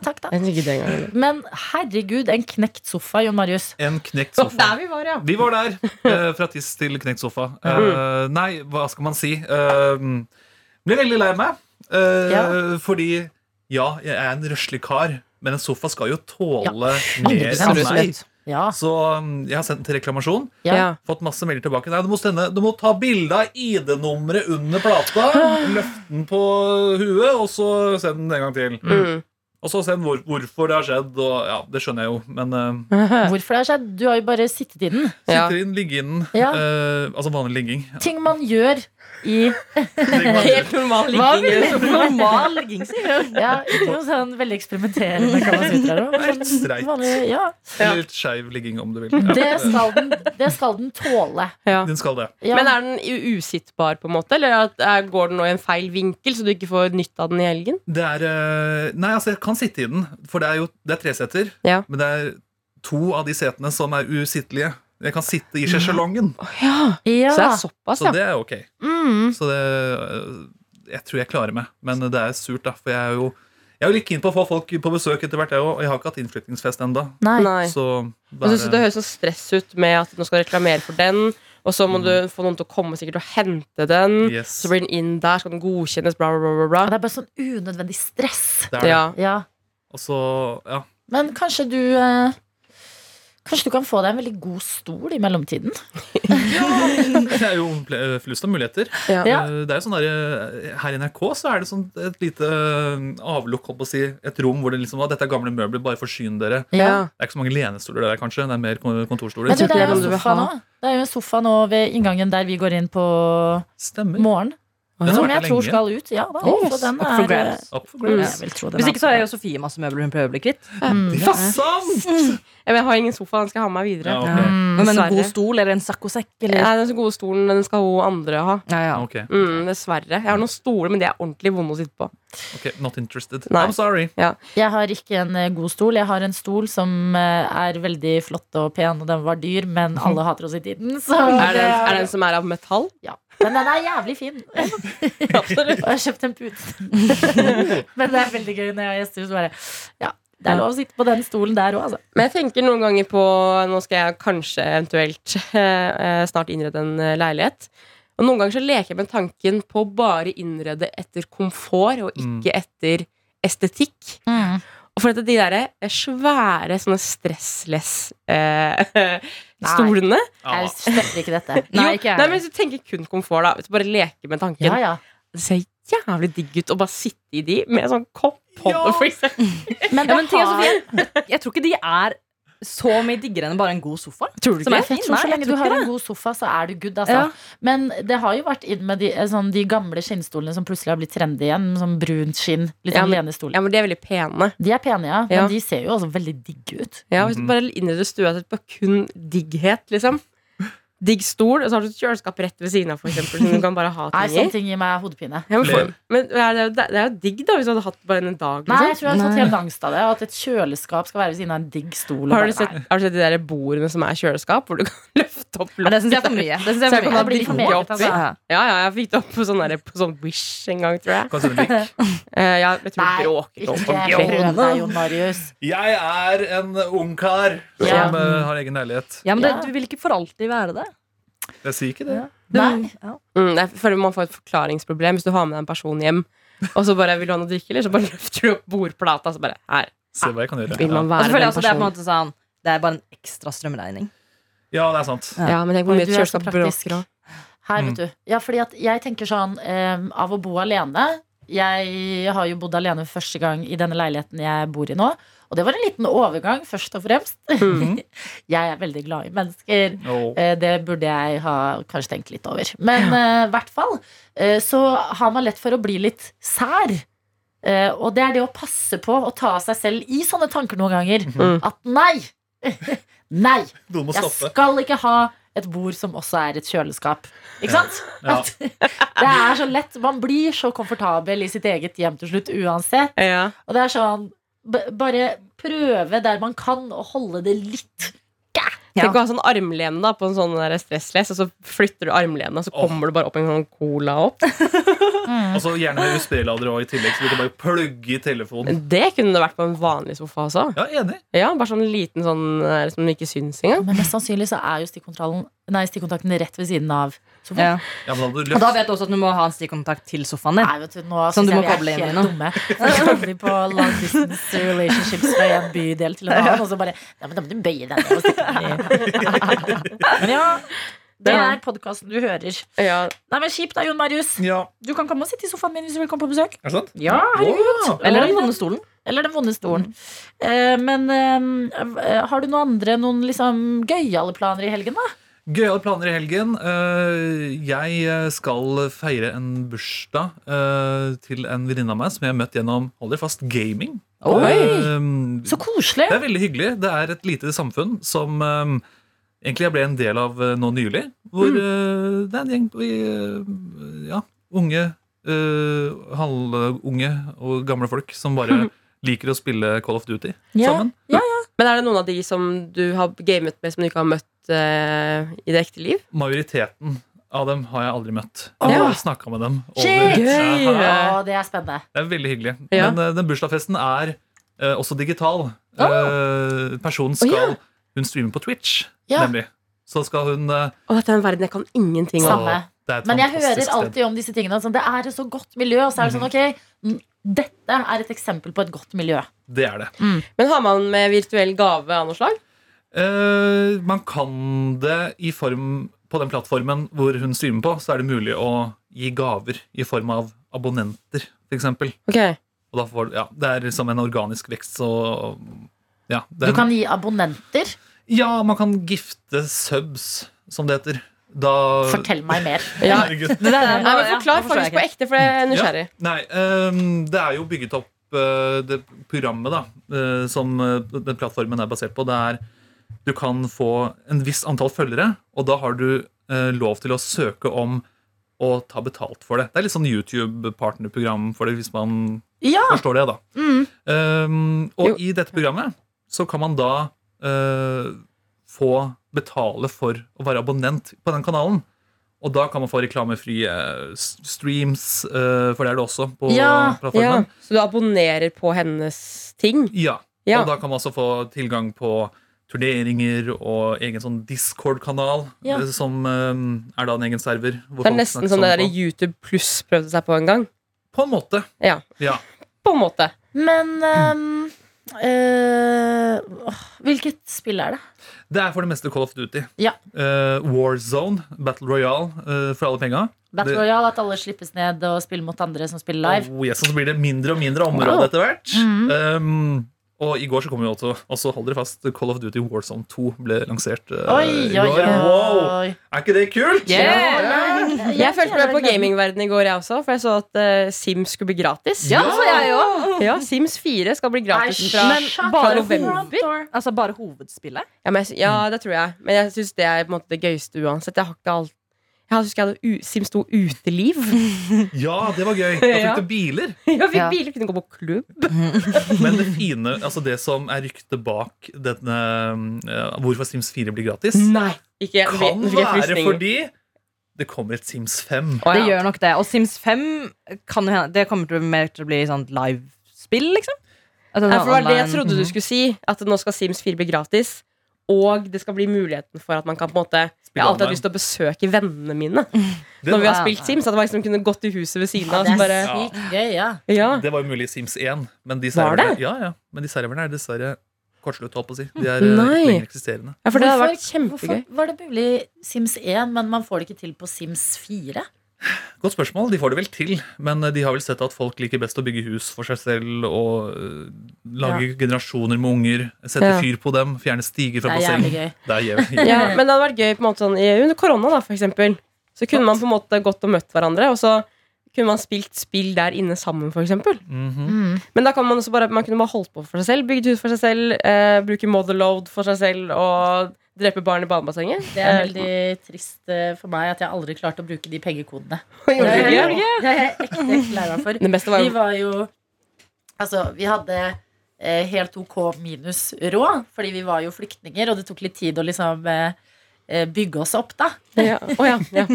Speaker 2: takk da.
Speaker 3: Jeg synes ikke det engang eller?
Speaker 2: Men herregud, en knekt sofa, Jon Marius.
Speaker 4: En knekt
Speaker 3: Så
Speaker 4: sofa.
Speaker 3: der vi var, ja.
Speaker 4: Vi var der. eh, fra tiss til knekt sofa.
Speaker 2: Mhm.
Speaker 4: Eh, nei, hva skal man si? Eh, ble veldig lei meg. eh,
Speaker 2: Ja.
Speaker 4: Fordi ja, jeg er en røslig kar, men en sofa skal jo tåle mer enn meg.
Speaker 3: Absolutt.
Speaker 2: Ja.
Speaker 4: Så mm, jeg har sendt den til reklamasjon.
Speaker 2: ja.
Speaker 4: Fått masse meldinger tilbake. Nei, du må, sende, du må ta bilde av ID-nummeret under plata,
Speaker 2: Ah.
Speaker 4: løfte den på huet, og så send den en gang til.
Speaker 3: Mm.
Speaker 4: Og så send hvor, hvorfor det har skjedd. Og, ja, det skjønner jeg jo, men eh,
Speaker 2: Hvorfor det har skjedd? Du har jo bare sittet i den.
Speaker 3: Ja.
Speaker 4: Sitter inn, ligge inn.
Speaker 2: Ja.
Speaker 4: eh, altså vanlig ligging.
Speaker 2: Ting man gjør
Speaker 3: (laughs)
Speaker 2: i
Speaker 4: Ligger man-
Speaker 3: Helt normal ligging. i en sofa.
Speaker 5: Normal ligging, sier hun.
Speaker 2: Ja, ikke noe sånn veldig eksperimenterende kan man si ut her
Speaker 4: (laughs)
Speaker 2: nå, men
Speaker 4: Helt streit.
Speaker 2: vanlig, ja.
Speaker 3: Ja.
Speaker 4: Litt skeiv ligging, om du vil.
Speaker 2: det,
Speaker 4: Ja.
Speaker 2: skal den, det skal den tåle.
Speaker 3: Ja.
Speaker 4: Den skal det.
Speaker 2: Ja.
Speaker 3: Men er den u- usittbar, på en måte? Eller at, er, går den nå i en feil vinkel, så du ikke får nytt av den i helgen?
Speaker 4: Det er eh, Nei, altså, jeg kan sitte i den, for det er jo det er tre seter.
Speaker 3: Ja.
Speaker 4: Men det er to av de setene som er usittelige. Jeg kan sitte i sesjelongen,
Speaker 2: ja.
Speaker 3: eh, Så det er såpass,
Speaker 4: så
Speaker 3: ja.
Speaker 4: det er ok.
Speaker 2: Mm.
Speaker 4: Så det eh, Jeg tror jeg klarer meg, men det er surt, da. For jeg er jo jeg er jo litt keen på å få folk på besøk etter hvert, jeg òg. Og jeg har ikke hatt innflyttingsfest ennå.
Speaker 2: Nei.
Speaker 3: Nei. Jeg synes det
Speaker 4: Nei,
Speaker 3: høres så stress ut med at nå skal du reklamere for den, og så må du få noen til å komme sikkert og hente den.
Speaker 4: Mm. Yes.
Speaker 3: Så blir den inn der, så kan den godkjennes, bla, bla, bla. bla,
Speaker 2: Det
Speaker 3: bla.
Speaker 2: er bare sånn unødvendig stress.
Speaker 4: det er det.
Speaker 3: Ja.
Speaker 2: Ja.
Speaker 4: Og så, ja. (laughs)
Speaker 2: Men kanskje du eh, Kanskje du kan få deg en veldig god stol i mellomtiden?
Speaker 4: Det er jo ple- flust av muligheter.
Speaker 3: Ja.
Speaker 2: Ja.
Speaker 4: Eh, Det er jo sånn der, eh, her i NRK så er det sånn et lite eh, avlukk, holdt på å si, et rom hvor det liksom var, dette er gamle møbler, bare forsyn dere.
Speaker 3: Ja.
Speaker 4: Det er ikke så mange lenestoler der, kanskje. Det er mer kon- kontorstoler.
Speaker 2: Men du,
Speaker 3: tror
Speaker 2: det,
Speaker 3: ikke
Speaker 2: er
Speaker 3: det
Speaker 2: jo
Speaker 3: er noe du vil
Speaker 2: sofa nå.
Speaker 3: ha.
Speaker 2: det er jo en sofa nå ved inngangen der vi går inn på
Speaker 4: Stemmer.
Speaker 2: morgen.
Speaker 4: Den har
Speaker 2: Som
Speaker 4: vært
Speaker 2: jeg
Speaker 4: der
Speaker 2: tror
Speaker 4: lenge.
Speaker 2: skal ut. Ja, da,
Speaker 5: Yes,
Speaker 2: så den
Speaker 5: up for
Speaker 2: er eh,
Speaker 5: grabs.
Speaker 4: Up for
Speaker 3: Mm.
Speaker 4: grabs.
Speaker 2: jeg vil tro den
Speaker 5: Hvis
Speaker 2: er
Speaker 5: ikke så er jo Sofie masse møbler hun prøver å bli kvitt.
Speaker 2: Mm.
Speaker 4: Det er sant!
Speaker 3: Ja, men Jeg har ingen sofa, den skal jeg ha med meg videre.
Speaker 4: Ja,
Speaker 2: Mm.
Speaker 4: ok.
Speaker 5: Mm. Men en
Speaker 3: Dessverre.
Speaker 5: god stol eller en saccosekk? Eller?
Speaker 3: Nei, Den så gode stolen den skal hun andre ha.
Speaker 5: Ja, ja.
Speaker 4: Ok,
Speaker 3: Mm, dessverre. Jeg har noen stoler, men de er ordentlig vonde å sitte på.
Speaker 4: ok, Not interested.
Speaker 3: Nei.
Speaker 4: I'm sorry.
Speaker 2: Jeg har ikke en eh, god stol. Jeg har en stol som eh, er veldig flott og pen, og den var dyr, men alle hater å sitte i den. Så
Speaker 3: Er det,
Speaker 2: det-
Speaker 3: er det en som er av metall?
Speaker 2: ja. Men den er jævlig fin. Og
Speaker 3: Absolutt.
Speaker 2: jeg har kjøpt en pute. men det er veldig gøy når jeg har gjester. Så bare, ja, det er lov å sitte på den stolen der òg, altså.
Speaker 3: Men jeg tenker noen ganger på Nå skal jeg kanskje eventuelt (laughs) eh, snart innrede en eh, leilighet. Og noen ganger så leker jeg med tanken på å bare innrede etter komfort og ikke etter estetikk. Og for at de der eh, svære sånne stressless eh, (laughs) stolene
Speaker 4: Ja.
Speaker 2: Jeg støtter ikke dette.
Speaker 5: Nei,
Speaker 3: Jo,
Speaker 5: ikke jeg.
Speaker 3: nei, men hvis du tenker kun komfort, da. Hvis du bare leker med tanken.
Speaker 2: Ja, ja.
Speaker 3: Det ser jævlig digg ut å bare sitte i de med sånn kopp på
Speaker 4: Ja.
Speaker 3: for eksempel.
Speaker 2: Men
Speaker 5: Ja,
Speaker 2: det
Speaker 5: men ting er,
Speaker 2: har
Speaker 5: Sofie, jeg tror ikke de er så mye diggere enn bare en god sofa.
Speaker 3: Tror du
Speaker 5: Som
Speaker 3: ikke?
Speaker 5: er
Speaker 2: Jeg tror
Speaker 5: Nei,
Speaker 2: så
Speaker 5: jeg
Speaker 2: lenge du
Speaker 5: tror
Speaker 2: har
Speaker 5: ikke
Speaker 2: en god sofa, så er du good, altså.
Speaker 5: Ja.
Speaker 2: Men det har jo vært inn med de, eh, sånn, de gamle skinnstolene som plutselig har blitt trendy igjen. Sånn brunt skinn. Litt
Speaker 3: Ja,
Speaker 2: sånn
Speaker 3: men-
Speaker 2: lenestol.
Speaker 3: Ja, men de er veldig pene.
Speaker 2: De er pene, ja, men
Speaker 3: Ja.
Speaker 2: de ser jo også veldig digge ut.
Speaker 3: Ja, hvis du bare innreder stua på kun digghet, liksom. digg stol, og så har du et kjøleskap rett ved siden av, for eksempel, som du kan bare ha
Speaker 2: Nei,
Speaker 3: ting i.
Speaker 2: sånne ting gir meg hodepine.
Speaker 3: Ja, men, for,
Speaker 4: Lev.
Speaker 3: men det, er jo, det er jo digg, da, hvis du hadde hatt bare en dag.
Speaker 2: Nei, jeg
Speaker 3: Liksom.
Speaker 2: tror jeg har fått
Speaker 5: Nei.
Speaker 2: helt angst av det. og At et kjøleskap skal være ved siden av en digg stol. og
Speaker 3: Har,
Speaker 2: bare-
Speaker 3: du sett,
Speaker 2: Nei.
Speaker 3: har du sett de der bordene som er kjøleskap, hvor du kan (laughs) løfte opp
Speaker 5: Nei,
Speaker 3: lokk?
Speaker 5: det syns jeg er for mye. Det synes jeg
Speaker 3: Så
Speaker 5: er
Speaker 3: jeg kan
Speaker 5: for mye.
Speaker 2: Det
Speaker 3: ha
Speaker 2: blir for
Speaker 3: drikke
Speaker 2: meget,
Speaker 3: oppi.
Speaker 2: altså.
Speaker 5: Ja.
Speaker 3: Ja, ja, jeg fikk det opp på sånn, der, på sånn Wish en gang, tror jeg.
Speaker 4: Hva sier du,
Speaker 2: (laughs)
Speaker 4: Vik?
Speaker 3: Eh, ja, jeg tror
Speaker 2: Nei,
Speaker 3: vi bråket
Speaker 2: Ikke
Speaker 3: om
Speaker 2: prøv
Speaker 4: Bjørn.
Speaker 2: deg, Jon Marius.
Speaker 4: Jeg er en ungkar som
Speaker 2: Ja.
Speaker 4: eh, har egen leilighet.
Speaker 5: ja, men
Speaker 2: Ja.
Speaker 5: det, du vil ikke for alltid være det.
Speaker 4: Jeg sier ikke det.
Speaker 5: Du,
Speaker 2: Nei.
Speaker 5: Ja.
Speaker 3: Mm, jeg føler man får et forklaringsproblem hvis du har med deg en person hjem, og så bare vil du ha noe å drikke, eller så bare (laughs) løfter du opp bordplata, så bare her.
Speaker 4: Se hva jeg kan gjøre.
Speaker 3: Vil man
Speaker 4: Ja,
Speaker 3: være
Speaker 5: Og så føler jeg
Speaker 3: den
Speaker 5: også det er på en
Speaker 3: personen?
Speaker 5: måte sånn Det er bare en ekstra strømregning.
Speaker 4: ja det er sant.
Speaker 3: Ja, men tenk
Speaker 2: Oi,
Speaker 3: hvor mye
Speaker 2: du
Speaker 3: et
Speaker 2: er så
Speaker 3: kjøleskap
Speaker 2: praktisk.
Speaker 3: bråker òg.
Speaker 2: Her,
Speaker 4: Mm.
Speaker 2: vet du. Ja, fordi at jeg tenker sånn em, Av å bo alene Jeg har jo bodd alene første gang i denne leiligheten jeg bor i nå. Og det var en liten overgang, først og fremst.
Speaker 4: Mhm.
Speaker 2: (laughs) Jeg er veldig glad i mennesker.
Speaker 4: Og
Speaker 2: Eh, Det burde jeg ha kanskje tenkt litt over. Men i hvert fall eh, så har man lett for å bli litt sær. Eh, og det er det å passe på å ta seg selv i sånne tanker noen ganger.
Speaker 3: Mhm.
Speaker 2: At nei! nei! (laughs)
Speaker 4: noen må
Speaker 2: Jeg (laughs)
Speaker 4: stoppe.
Speaker 2: skal ikke ha et bord som også er et kjøleskap. Ikke sant?
Speaker 4: Ja.
Speaker 2: At, det er så lett. Man blir så komfortabel i sitt eget hjem til slutt uansett.
Speaker 3: Ja.
Speaker 2: Og det er sånn b Bare prøve der man kan, og holde det litt
Speaker 5: Ja.
Speaker 3: Tenk å ha sånn armlene da, på en sånn der stressless, og så flytter du armlene, og så
Speaker 4: Åh.
Speaker 3: kommer det bare opp en sånn cola opp.
Speaker 4: Og så gjerne med USB-lader også i tillegg, så du kan bare plugge i telefonen.
Speaker 3: Det kunne det vært på en vanlig sofa også.
Speaker 4: Ja, enig.
Speaker 3: Ja, bare sånn liten sånn eh, som ikke syns engang.
Speaker 2: Men mest sannsynlig så er jo stikkontrollen- nei, stikkontakten rett ved siden av. Så hvor-
Speaker 5: Ja.
Speaker 4: Ja, men da hadde du
Speaker 5: Og da
Speaker 4: løft.
Speaker 5: vet du også at du må ha en stikkontakt til sofaen din.
Speaker 2: Nei, vet du, nå
Speaker 5: Som
Speaker 2: synes
Speaker 5: du
Speaker 2: jeg vi
Speaker 5: må
Speaker 2: er
Speaker 5: koble inn
Speaker 2: helt
Speaker 5: i nå.
Speaker 2: dumme. Så kommer de på long distance relationships fra en bydel til en annen, og så bare Ja, men da må du bøye deg ned og stikke den i Men ja, det er podkasten du hører.
Speaker 3: Ja,
Speaker 2: Nei, men kjipt da, Jon Marius.
Speaker 4: Ja,
Speaker 2: Du kan komme og sitte i sofaen min hvis du vil komme på besøk.
Speaker 4: er det sant?
Speaker 2: Ja,
Speaker 4: herregud.
Speaker 5: Eller den vonde stolen.
Speaker 2: Eller den vonde stolen. Eh, men eh, har du noen andre noen liksom gøyale planer i helgen, da?
Speaker 4: Gøyale planer i helgen. Eh, Jeg skal feire en bursdag eh, til en venninne av meg som jeg har møtt gjennom hold dere fast, gaming. Eh,
Speaker 2: Så koselig!
Speaker 4: Det er veldig hyggelig. Det er et lite samfunn som eh, egentlig jeg ble en del av eh, nå nylig. Hvor
Speaker 2: Mm.
Speaker 4: eh, det er en gjeng på, eh, ja, unge, eh, halvunge og gamle folk som bare liker å spille Call of Duty
Speaker 2: Mm. Ja.
Speaker 4: sammen.
Speaker 3: Men er det noen av de som du har gamet med, som du ikke har møtt eh, i det ekte liv?
Speaker 4: Majoriteten av dem har jeg aldri møtt.
Speaker 3: Åh.
Speaker 4: Jeg har snakka med dem. over-
Speaker 2: Shit!
Speaker 3: Gøy!
Speaker 4: Ja,
Speaker 2: Å, det er spennende.
Speaker 4: Det er veldig hyggelig.
Speaker 3: Ja.
Speaker 4: Men eh, den bursdagsfesten er eh, også digital. Eh, personen skal Hun streamer på Twitch,
Speaker 2: Ja.
Speaker 4: nemlig. Så skal hun eh,
Speaker 3: Og dette er en verden jeg kan ingenting om.
Speaker 2: Samme.
Speaker 4: å, det er et
Speaker 2: Men jeg
Speaker 4: fantastisk
Speaker 2: hører
Speaker 4: sted.
Speaker 2: alltid om disse tingene. Sånn, det er et så godt miljø. Og så er det sånn, ok, n- dette er et eksempel på et godt miljø.
Speaker 4: Det er det.
Speaker 3: Men har man med virtuell gave av noe slag?
Speaker 4: Eh, man kan det i form På den plattformen hvor hun streamer på, så er det mulig å gi gaver i form av abonnenter, f.eks. Og
Speaker 3: Ok,
Speaker 4: da får du Ja, det er som en organisk vekst, så ja, det
Speaker 2: Du
Speaker 4: er en-
Speaker 2: kan gi abonnenter.
Speaker 4: ja, man kan gifte subs, som det heter. Da
Speaker 2: Fortell meg
Speaker 4: (laughs)
Speaker 2: mer.
Speaker 3: ja.
Speaker 4: Herregud.
Speaker 5: Det (laughs)
Speaker 3: Nei,
Speaker 5: der,
Speaker 3: men Forklar faktisk på ekte, for jeg er nysgjerrig.
Speaker 4: Ja. Nei, ehm, det er jo bygget opp eh, det programmet da, eh, som eh, den plattformen er basert på. Det er du kan få en viss antall følgere, og da har du eh, lov til å søke om å ta betalt for det. Det er litt sånn YouTube-partnerprogram for det, hvis man
Speaker 2: Ja!
Speaker 4: forstår det, da.
Speaker 2: Mm.
Speaker 4: Ehm, og
Speaker 3: Jo.
Speaker 4: i dette programmet så kan man da eh, få betale for å være abonnent på den kanalen. Og da kan man få reklamefrie eh, s- streams, eh, for det er det også på
Speaker 2: Ja,
Speaker 3: Ja.
Speaker 4: plattformen.
Speaker 3: Så du abonnerer på hennes ting?
Speaker 4: Ja.
Speaker 3: Ja.
Speaker 4: Og da kan man også få tilgang på turneringer og egen sånn Discord-kanal,
Speaker 2: Ja.
Speaker 4: eh, som eh, er da en egen server. hvor
Speaker 3: Det er
Speaker 4: folk
Speaker 3: nesten
Speaker 4: snakker
Speaker 3: som det der
Speaker 4: sammen på.
Speaker 3: YouTube pluss prøvde seg på en gang.
Speaker 4: På en måte.
Speaker 3: Ja,
Speaker 4: Ja.
Speaker 3: på en måte.
Speaker 2: Men ehm, eh, åh, Hvilket spill er det?
Speaker 4: Det er for det meste Call of Duty.
Speaker 2: Ja.
Speaker 4: Eh, War Zone, Battle Royale, eh, for alle penga.
Speaker 2: Battle
Speaker 4: Det-
Speaker 2: Royale, at alle slippes ned og spiller mot andre som spiller live.
Speaker 4: Oh, yes, og så blir det mindre og mindre område etter hvert.
Speaker 3: Mm.
Speaker 4: Um, og i går så kom jo også, også hold dere fast, Call of Duty Warzone 2 ble lansert. uh,
Speaker 2: Oi,
Speaker 4: i
Speaker 2: oi,
Speaker 4: går.
Speaker 2: oi.
Speaker 4: Wow! Er ikke det kult?
Speaker 3: Jeg fulgte med på gamingverdenen i går, jeg også, for jeg så at eh, Sims skulle bli gratis.
Speaker 5: Ja, så jeg òg.
Speaker 3: Ja, Sims 4 skal bli gratis fra
Speaker 5: Men bare
Speaker 3: november?
Speaker 5: Altså bare hovedspillet?
Speaker 3: Ja, men jeg, sy- ja, det tror jeg. Men jeg syns det er på en måte det gøyeste uansett. Jeg har ikke alt Jeg husker jeg hadde u Sims 2 uteliv. (laughs)
Speaker 4: Ja, det var gøy. Da
Speaker 3: Ja.
Speaker 4: fikk du biler.
Speaker 3: Jeg fikk
Speaker 5: Ja.
Speaker 3: biler, kunne gå på klubb.
Speaker 4: Men det fine, altså det som er ryktet bak denne eh, Hvorfor Sims 4 blir gratis,
Speaker 3: Nei, ikke jeg.
Speaker 4: kan
Speaker 3: Nå fikk jeg
Speaker 4: være
Speaker 3: frysninger.
Speaker 4: fordi det kommer et Sims 5.
Speaker 3: Å, ja.
Speaker 5: Det gjør nok det. Og Sims 5 kan jo hende Det kommer til å bli mer til å bli sånn livespill, liksom. At den
Speaker 3: Nei,
Speaker 5: er
Speaker 3: for det var det jeg
Speaker 5: online.
Speaker 3: trodde du skulle si. At nå skal Sims 4 bli gratis. Og det skal bli muligheten for at man kan på en måte Jeg har alltid hatt lyst til å besøke vennene mine
Speaker 4: Det,
Speaker 3: når vi har
Speaker 5: Ja.
Speaker 3: spilt Sims. At man liksom kunne gått i huset ved siden av. og
Speaker 2: Det
Speaker 3: så bare,
Speaker 2: er sykt gøy, ja.
Speaker 3: ja.
Speaker 4: det var jo mulig i Sims 1, men de
Speaker 3: Ah. Var
Speaker 4: serverne
Speaker 3: det?
Speaker 4: ja, ja. Men de serverne er dessverre kortslutt, holdt på å si. De er eh,
Speaker 3: Nei.
Speaker 4: ikke lenger eksisterende.
Speaker 3: ja, for det hadde vært
Speaker 2: hvorfor
Speaker 3: kjempegøy.
Speaker 2: var det mulig i Sims 1, men man får det ikke til på Sims 4?
Speaker 4: Godt spørsmål. De får det vel til, men eh, de har vel sett at folk liker best å bygge hus for seg selv og øh, lage generasjoner med unger, sette
Speaker 3: Ja.
Speaker 4: fyr på dem, fjerne stiger fra
Speaker 2: Det er
Speaker 4: basseng.
Speaker 2: jævlig gøy.
Speaker 4: Det er
Speaker 3: (laughs)
Speaker 4: jævlig gøy.
Speaker 3: Ja, men det hadde vært gøy på en måte sånn i- under korona, da, for eksempel. Så kunne man på en måte gått og møtt hverandre, og så kunne man spilt spill der inne sammen, for eksempel.
Speaker 4: Mhm.
Speaker 2: Mm.
Speaker 3: Men da kan man også bare, man kunne bare holdt på for seg selv, bygd hus for seg selv, eh, bruke motherload for seg selv, og drepe barn i badebassenget.
Speaker 2: (laughs) Det er veldig trist eh, for meg at jeg aldri klarte å bruke de pengekodene.
Speaker 3: Gjorde
Speaker 2: Det
Speaker 3: du
Speaker 2: er
Speaker 3: ikke?
Speaker 2: jeg ekte, ekte lei meg for.
Speaker 3: Det beste var
Speaker 2: Vi
Speaker 3: jo
Speaker 2: var jo Altså, vi hadde eh, helt OK minus råd, fordi vi var jo flyktninger, og det tok litt tid å liksom eh, eh, bygge oss opp, da.
Speaker 3: ja. Å, ja, ja.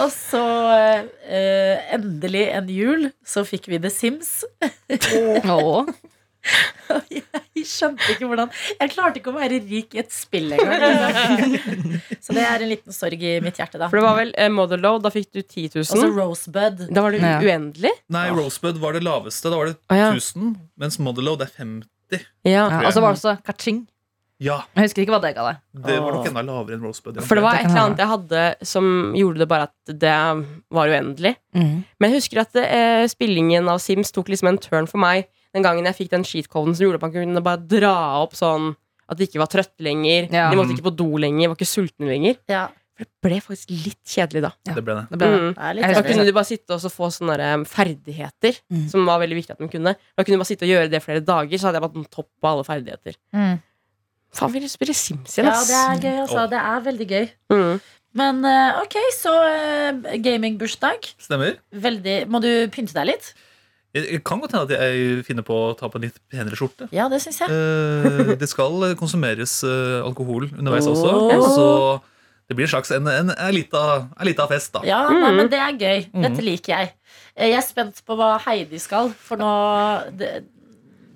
Speaker 2: Og så eh, endelig en jul, så fikk vi The Sims.
Speaker 5: Åh.
Speaker 2: (laughs) Jeg skjønte ikke hvordan Jeg klarte ikke å være rik i et spill engang. (laughs) Så det er en liten sorg i mitt hjerte, da.
Speaker 3: For det var vel eh, motherload, da fikk du 10
Speaker 2: Og så
Speaker 3: 000.
Speaker 2: Rosebud.
Speaker 3: Da var det
Speaker 5: Ja.
Speaker 3: uendelig.
Speaker 4: Nei, Rosebud var det laveste. Da var det
Speaker 3: Å, ja.
Speaker 4: 1000, mens Modelow det er 50.
Speaker 3: Ja.
Speaker 5: (laughs) Ja, og så var det også kaching.
Speaker 4: Ja,
Speaker 5: Jeg husker ikke hva det ga deg.
Speaker 4: det var nok enda lavere enn Rosebud. ja.
Speaker 3: For det var
Speaker 5: Det
Speaker 3: et
Speaker 5: kan
Speaker 3: eller annet jeg hadde som gjorde det bare at det var uendelig.
Speaker 5: Mm.
Speaker 3: Men jeg husker at eh, spillingen av Sims tok liksom en turn for meg den gangen jeg fikk den cheat-coden som gjorde at man kunne bare dra opp sånn at de ikke var trøtte lenger,
Speaker 5: Ja.
Speaker 3: de måtte ikke på do lenger, var ikke sultne lenger.
Speaker 2: Ja,
Speaker 3: For det ble faktisk litt kjedelig da.
Speaker 4: Det ble det.
Speaker 5: Det ble
Speaker 3: Mm.
Speaker 2: det er
Speaker 5: Jeg
Speaker 2: litt
Speaker 3: Da
Speaker 5: husker
Speaker 2: sorg.
Speaker 3: kunne du bare sitte og så få sånne der, um, ferdigheter
Speaker 5: Mm.
Speaker 3: som var veldig viktig at de kunne. Da kunne du bare sitte og gjøre det flere dager, så hadde jeg bare topp på alle ferdigheter.
Speaker 2: Mm.
Speaker 3: Faen, vi vil spille Sims igjen,
Speaker 2: Ja,
Speaker 3: ass.
Speaker 2: det er gøy, altså. Det er veldig gøy.
Speaker 3: Mm.
Speaker 2: Men eh, ok, så eh, gamingbursdag.
Speaker 4: Stemmer.
Speaker 2: Veldig Må du pynte deg litt?
Speaker 4: Jeg- Jeg kan godt hende at jeg finner på å ta på en litt penere skjorte.
Speaker 2: Ja, det syns jeg.
Speaker 4: Eh, det skal konsumeres eh, alkohol underveis også,
Speaker 2: Åh.
Speaker 4: så det blir en slags en, en, en, lita, en lita fest, da.
Speaker 2: Ja,
Speaker 3: Mm.
Speaker 2: nei, men det er gøy.
Speaker 4: Mm.
Speaker 2: Dette liker jeg. Eh, Jeg er spent på hva Heidi skal, for nå det,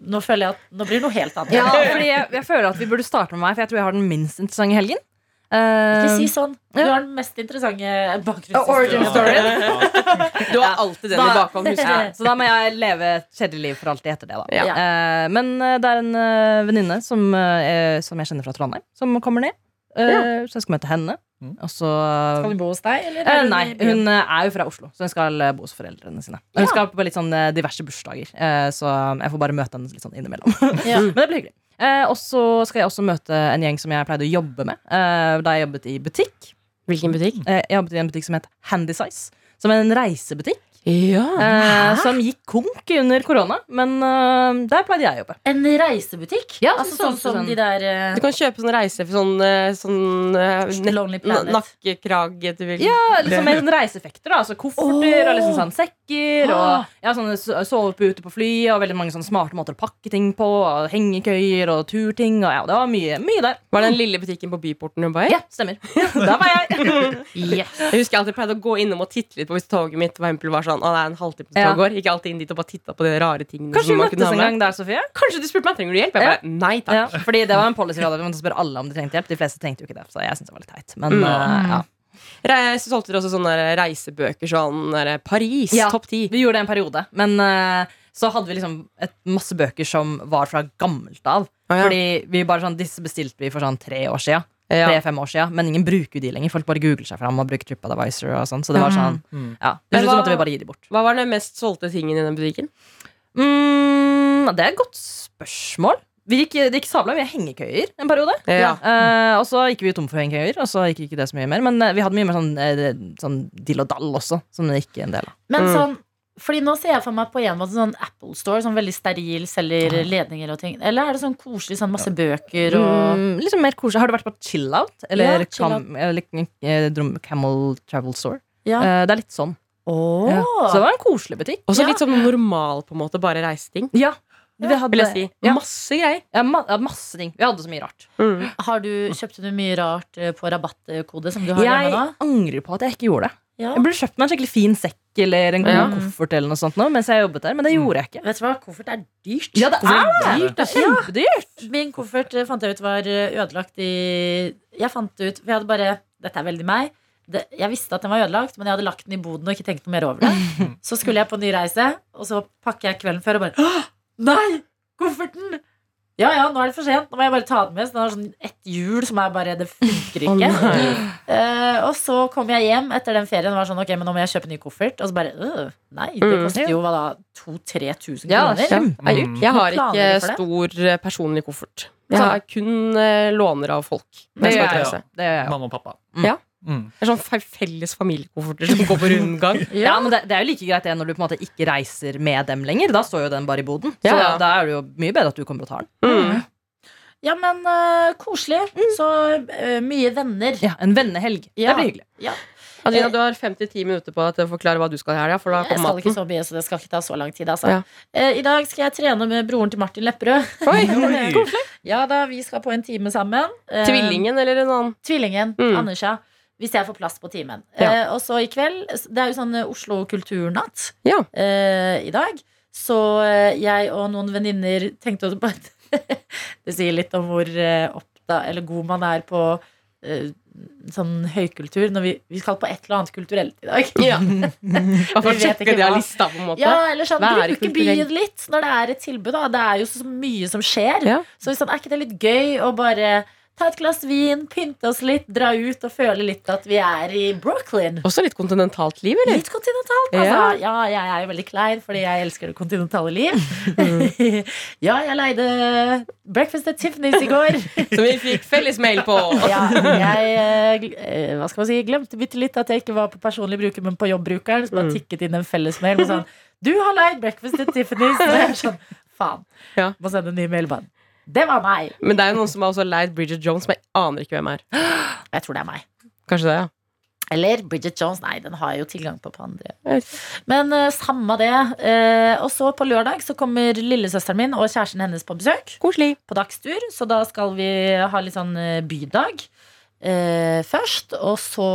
Speaker 2: Nå føler jeg at Nå blir det noe helt annet.
Speaker 5: Ja, fordi jeg, jeg føler at vi burde starte med meg, for jeg tror jeg har den minst interessante helgen. Eh,
Speaker 2: Ikke si sånn. Du har den mest interessante
Speaker 5: Origin
Speaker 2: bakgrunnshistorien.
Speaker 5: story.
Speaker 4: Ja.
Speaker 3: Du har alltid den i
Speaker 5: Da-
Speaker 3: bakhånd, husker
Speaker 5: (laughs) ja,
Speaker 3: jeg.
Speaker 5: så da må jeg leve et kjedelig liv for alltid etter det. Da.
Speaker 3: Ja.
Speaker 5: Eh, men eh, det er en eh, venninne som, eh, er- som jeg kjenner fra Trondheim, som kommer ned. Eh, Så jeg skal møte henne.
Speaker 4: Mm.
Speaker 5: Og så
Speaker 2: Skal hun bo hos deg, eller?
Speaker 5: Eh,
Speaker 2: er
Speaker 5: nei,
Speaker 2: i byen?
Speaker 5: hun eh, er jo fra Oslo, så hun skal eh, bo hos foreldrene sine. Hun
Speaker 2: Ja.
Speaker 5: skal på litt sånn eh, diverse bursdager, eh, så jeg får bare møte henne litt sånn innimellom. (laughs)
Speaker 2: Ja.
Speaker 5: Men det blir hyggelig. Eh, og så skal jeg også møte en gjeng som jeg pleide å jobbe med eh, da jeg jobbet i butikk.
Speaker 3: Hvilken butikk?
Speaker 5: Eh, jeg jobbet i en butikk som het Handy Size, som er en reisebutikk
Speaker 3: Ja.
Speaker 5: eh, som gikk konk under korona, men eh, der pleide jeg å jobbe.
Speaker 2: En reisebutikk?
Speaker 5: Ja,
Speaker 2: altså
Speaker 5: sånn
Speaker 2: sånn
Speaker 5: som
Speaker 2: som
Speaker 5: sånn.
Speaker 2: de der eh,
Speaker 3: Du kan kjøpe sånn reise for sånn, eh, sånn eh, ne-
Speaker 2: Lonely
Speaker 3: na-
Speaker 2: Planet.
Speaker 3: nakkekrag etter vil.
Speaker 5: Ja, liksom med sånn reiseeffekter, da. Altså kofferter og liksom sånn sekker.
Speaker 3: Ah!
Speaker 5: Og ja, sånne so- sove på ute på fly, og veldig mange sånne smarte måter å pakke ting på. Og hengekøyer og turting. Og ja, det var mye, mye der.
Speaker 3: Var den lille butikken på Byporten hun var i?
Speaker 5: Ja, stemmer. der var
Speaker 3: (laughs)
Speaker 5: jeg.
Speaker 2: yes.
Speaker 3: Jeg husker jeg alltid pleide å gå innom og titte litt på hvis toget mitt for eksempel, var sånn, å, det er en halvtime til
Speaker 5: Ja.
Speaker 3: toget går. Gikk jeg alltid inn dit og bare titta på de rare tingene.
Speaker 5: Kanskje
Speaker 3: som
Speaker 5: vi
Speaker 3: man kunne ha
Speaker 5: møttes en
Speaker 3: med.
Speaker 5: gang der, Sofie?
Speaker 3: Kanskje du spurte meg trenger du hjelp. Jeg bare, nei
Speaker 5: Ja,
Speaker 3: takk.
Speaker 5: fordi det var en policy vi hadde. Vi måtte spørre alle om de trengte hjelp. De fleste trengte jo ikke det, så jeg synes det var litt teit. Men
Speaker 3: Mm.
Speaker 5: eh, ja.
Speaker 3: Re- Så solgte dere også sånne der reisebøker sånn der, Paris,
Speaker 5: Ja.
Speaker 3: topp ti.
Speaker 5: Vi gjorde det en periode, men eh, så hadde vi liksom et masse bøker som var fra gammelt av.
Speaker 3: Å, Ah, ja.
Speaker 5: Fordi vi bare sånn, Disse bestilte vi for sånn tre år sia.
Speaker 3: Ja.
Speaker 5: Tre-fem år siden, men ingen bruker jo de lenger. Folk bare googler seg fram og bruker TripAdvisor og sånn. Så det var sånn,
Speaker 4: Mm.
Speaker 5: ja.
Speaker 3: Men
Speaker 5: Til slutt så
Speaker 3: hva-
Speaker 5: måtte vi bare gi de bort.
Speaker 3: Hva var den mest solgte tingen i den butikken?
Speaker 5: Mm, det er et godt spørsmål. Vi gikk, det gikk sabla mye hengekøyer en periode.
Speaker 3: Ja.
Speaker 5: Eh, og så gikk vi tom for hengekøyer, og så gikk ikke det så mye mer. Men eh, vi hadde mye mer sånn, eh, sånn dill og dall også, som det gikk en del av.
Speaker 2: Men
Speaker 3: Mm.
Speaker 2: sånn Fordi nå ser jeg for meg på en måte sånn Apple Store, sånn veldig steril, selger ledninger og ting. Eller er det sånn koselig, sånn masse bøker og
Speaker 5: Mm, liksom mer koselig. Har du vært på Chillout? Eller,
Speaker 2: Ja, Chill Out.
Speaker 5: Cam, eller eh, Drum- Camel Travel Store?
Speaker 2: Ja.
Speaker 5: Eh, det er litt sånn.
Speaker 2: Åh.
Speaker 5: Ja. Så det var en koselig butikk.
Speaker 3: Også
Speaker 2: Ja.
Speaker 3: litt sånn normal, på en måte, bare reiseting.
Speaker 5: Ja, vi hadde,
Speaker 3: Vil jeg si.
Speaker 5: Ja.
Speaker 3: Masse greier.
Speaker 5: Ja, ma ja, masse ting. Vi hadde så mye rart.
Speaker 2: Har du, Kjøpte du mye rart eh, på rabattkode som du har
Speaker 5: jeg
Speaker 2: hjemme nå?
Speaker 5: angrer på at jeg ikke gjorde det.
Speaker 2: Ja.
Speaker 5: Jeg burde kjøpt meg en skikkelig fin sekk eller en god
Speaker 3: Ja.
Speaker 5: koffert eller noe sånt nå, mens jeg jobbet der, men det gjorde jeg ikke.
Speaker 2: Vet du hva, koffert er dyrt.
Speaker 5: Ja, det er
Speaker 4: Hvorfor er det?
Speaker 5: dyrt. Det er kjempedyrt.
Speaker 2: Min koffert eh, fant jeg ut var eh, ødelagt i Jeg fant ut, for jeg hadde bare Dette er veldig meg. Det, jeg visste at den var ødelagt, men jeg hadde lagt den i boden og ikke tenkt noe mer
Speaker 3: (laughs)
Speaker 2: over det. Så skulle jeg på ny reise, og så pakker jeg kvelden før og bare «Åh, Nei! Kofferten! Ja, ja, nå er det for sent. Nå må jeg bare ta den med. Så den har sånn ett hjul som er bare Det funker ikke.
Speaker 3: Å, nei.
Speaker 2: Eh, og så kom jeg hjem etter den ferien og var sånn Ok, men nå må jeg kjøpe ny koffert. Og så bare øh, Nei, det
Speaker 3: Mm.
Speaker 2: koster jo hva da 2000-3000
Speaker 5: Ja,
Speaker 2: kroner.
Speaker 3: Det er dyrt.
Speaker 4: Mm.
Speaker 3: Jeg har ikke
Speaker 2: Planer for det?
Speaker 3: stor eh, personlig koffert. Jeg har kun eh, låner av folk.
Speaker 5: Det
Speaker 3: Det er,
Speaker 5: gjør jeg
Speaker 3: jeg
Speaker 4: også.
Speaker 3: også.
Speaker 5: Det gjør jeg også.
Speaker 4: Mamma og pappa.
Speaker 5: Mm.
Speaker 3: Ja.
Speaker 4: Mm.
Speaker 3: det er sånn fe- felles familiekofferter som går på
Speaker 2: (laughs)
Speaker 3: rundgang.
Speaker 5: Ja, men det, det er jo like greit det når du på en måte ikke reiser med dem lenger. Da står jo den bare i boden. Så
Speaker 3: Ja, ja.
Speaker 5: da er det jo mye bedre at du kommer og tar den.
Speaker 3: Mm.
Speaker 2: Ja, men eh, koselig. Så eh, mye venner.
Speaker 5: Ja, En vennehelg.
Speaker 2: Ja.
Speaker 5: Det blir hyggelig.
Speaker 3: Adrina, du har 5-10 minutter på deg til å forklare hva du skal i helga. For da
Speaker 2: Jeg
Speaker 3: kommer
Speaker 2: skal ikke
Speaker 3: maten.
Speaker 2: så mye, så det skal ikke ta så lang tid. Altså.
Speaker 3: Ja.
Speaker 2: Eh, I dag skal jeg trene med broren til Martin Lepperød. (laughs)
Speaker 4: Oi.
Speaker 2: Ja da, Vi skal på en time sammen. Eh,
Speaker 3: Tvillingen eller en annen.
Speaker 2: Tvillingen.
Speaker 3: Mm.
Speaker 2: Anders, ja. Hvis jeg får plass på timen.
Speaker 3: Ja.
Speaker 2: Eh, og så i kveld Det er jo sånn eh, Oslo kulturnatt
Speaker 3: Ja.
Speaker 2: eh, i dag. Så eh, jeg og noen venninner tenkte også på at (laughs) Det sier litt om hvor eh, oppda, eller god man er på eh, sånn høykultur. Når vi, vi skal på et eller annet kulturelt i dag. (laughs)
Speaker 3: Bare
Speaker 2: Vi
Speaker 3: for å
Speaker 2: vet
Speaker 3: sjekke
Speaker 2: ikke
Speaker 3: det av
Speaker 2: hva.
Speaker 3: lista, på en måte.
Speaker 2: Ja, eller sånn,
Speaker 3: Hva er det
Speaker 2: Bruke
Speaker 3: kulturelt?
Speaker 2: byen litt når det er et tilbud. Da. Det er jo så mye som skjer.
Speaker 3: Ja.
Speaker 2: Så sånn, er ikke det litt gøy å bare ta et glass vin, pynte oss litt, dra ut og føle litt at vi er i Brooklyn?
Speaker 3: Også litt kontinentalt liv,
Speaker 2: (laughs)
Speaker 3: eller?
Speaker 2: Litt kontinentalt, altså.
Speaker 3: Ja.
Speaker 2: Ja. jeg er jo veldig klein fordi jeg elsker det kontinentale liv.
Speaker 3: (laughs)
Speaker 2: (laughs) ja, jeg leide Breakfast at Tiffany's i går.
Speaker 3: (laughs) Som vi fikk felles mail på.
Speaker 2: Ja, jeg eh, gl- eh, hva skal man si, glemte bitte litt at jeg ikke var på personlig bruker, men på jobbbrukeren. Så bare
Speaker 3: Mm.
Speaker 2: tikket inn en fellesmail med sånn Du har leid breakfast til Tiffany's. Og jeg er sånn, faen.
Speaker 3: Ja.
Speaker 2: Må sende en ny mail bare. Det var meg.
Speaker 3: Men det er jo noen som har også leid Bridget Jones, men jeg aner ikke hvem er.
Speaker 2: Jeg tror det er meg.
Speaker 3: Kanskje det, ja.
Speaker 2: Eller Bridget Jones. Nei, den har jeg jo tilgang på på andre.
Speaker 3: Jeg vet
Speaker 2: Men eh, samme det. Eh, og så på lørdag så kommer lillesøsteren min og kjæresten hennes på besøk.
Speaker 3: Koselig.
Speaker 2: på dagstur, så da skal vi ha litt sånn eh, bydag eh, først. Og så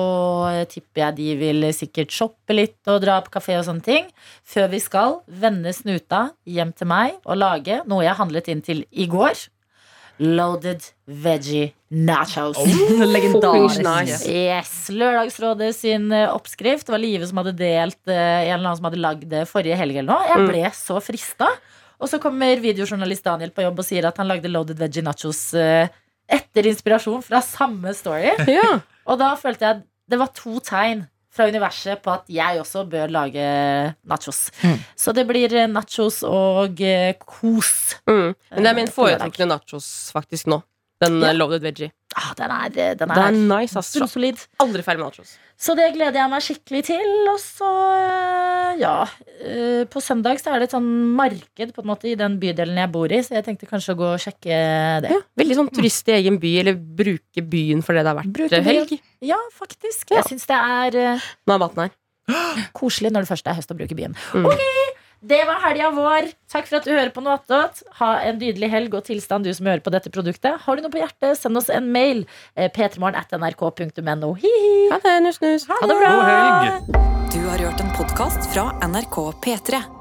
Speaker 2: eh, tipper jeg de vil sikkert shoppe litt og dra på kafé og sånne ting. Før vi skal vende snuta hjem til meg og lage noe jeg handlet inn til i går. Loaded veggie nachos.
Speaker 5: Legendarisk.
Speaker 3: Fucking nice.
Speaker 2: Yes, Lørdagsrådet sin eh, oppskrift. Det var Live som hadde delt eh, En eller annen som hadde lagd det forrige helg eller noe. Jeg
Speaker 3: Mm.
Speaker 2: ble så frista. Og så kommer videojournalist Daniel på jobb og sier at han lagde loaded veggie nachos eh, etter inspirasjon fra samme (laughs) story.
Speaker 3: Ja.
Speaker 2: Og da følte jeg at det var to tegn fra universet på at jeg også bør lage nachos.
Speaker 5: Mm.
Speaker 2: Så det blir eh, nachos og eh, kos.
Speaker 3: Mm. Men det er min
Speaker 2: Eh,
Speaker 3: foretrukne nachos faktisk nå. Den
Speaker 2: Ja.
Speaker 3: eh, loaded veggie.
Speaker 2: Ah, den er, eh, den
Speaker 3: Det er
Speaker 2: er,
Speaker 3: nice, ass.
Speaker 2: bunnsolid.
Speaker 3: Aldri ferdig med nachos.
Speaker 2: Så det gleder jeg meg skikkelig til. Og så, eh, ja eh, På søndag så er det et sånn marked på en måte i den bydelen jeg bor i, så jeg tenkte kanskje å gå og sjekke det.
Speaker 3: Ja. Veldig sånn turist i egen by, eller bruke byen for det det har vært
Speaker 2: Bruke byen.
Speaker 3: helg.
Speaker 2: Ja, faktisk.
Speaker 3: Ja.
Speaker 2: Jeg syns det er eh,
Speaker 3: Nå er maten her.
Speaker 2: koselig når det først er høst å bruke byen.
Speaker 3: Mm.
Speaker 2: Ok, det var helga vår. Takk for at du hører på noe attåt. Ha en nydelig helg og tilstand, du som hører på dette produktet. Har du noe på hjertet, send oss en mail. Eh, P3morgen at nrk.no. Hihi.
Speaker 3: Ha det, nus, nus.
Speaker 2: Ha det bra!
Speaker 4: God helg!
Speaker 1: Du har hørt en podkast fra NRK P3.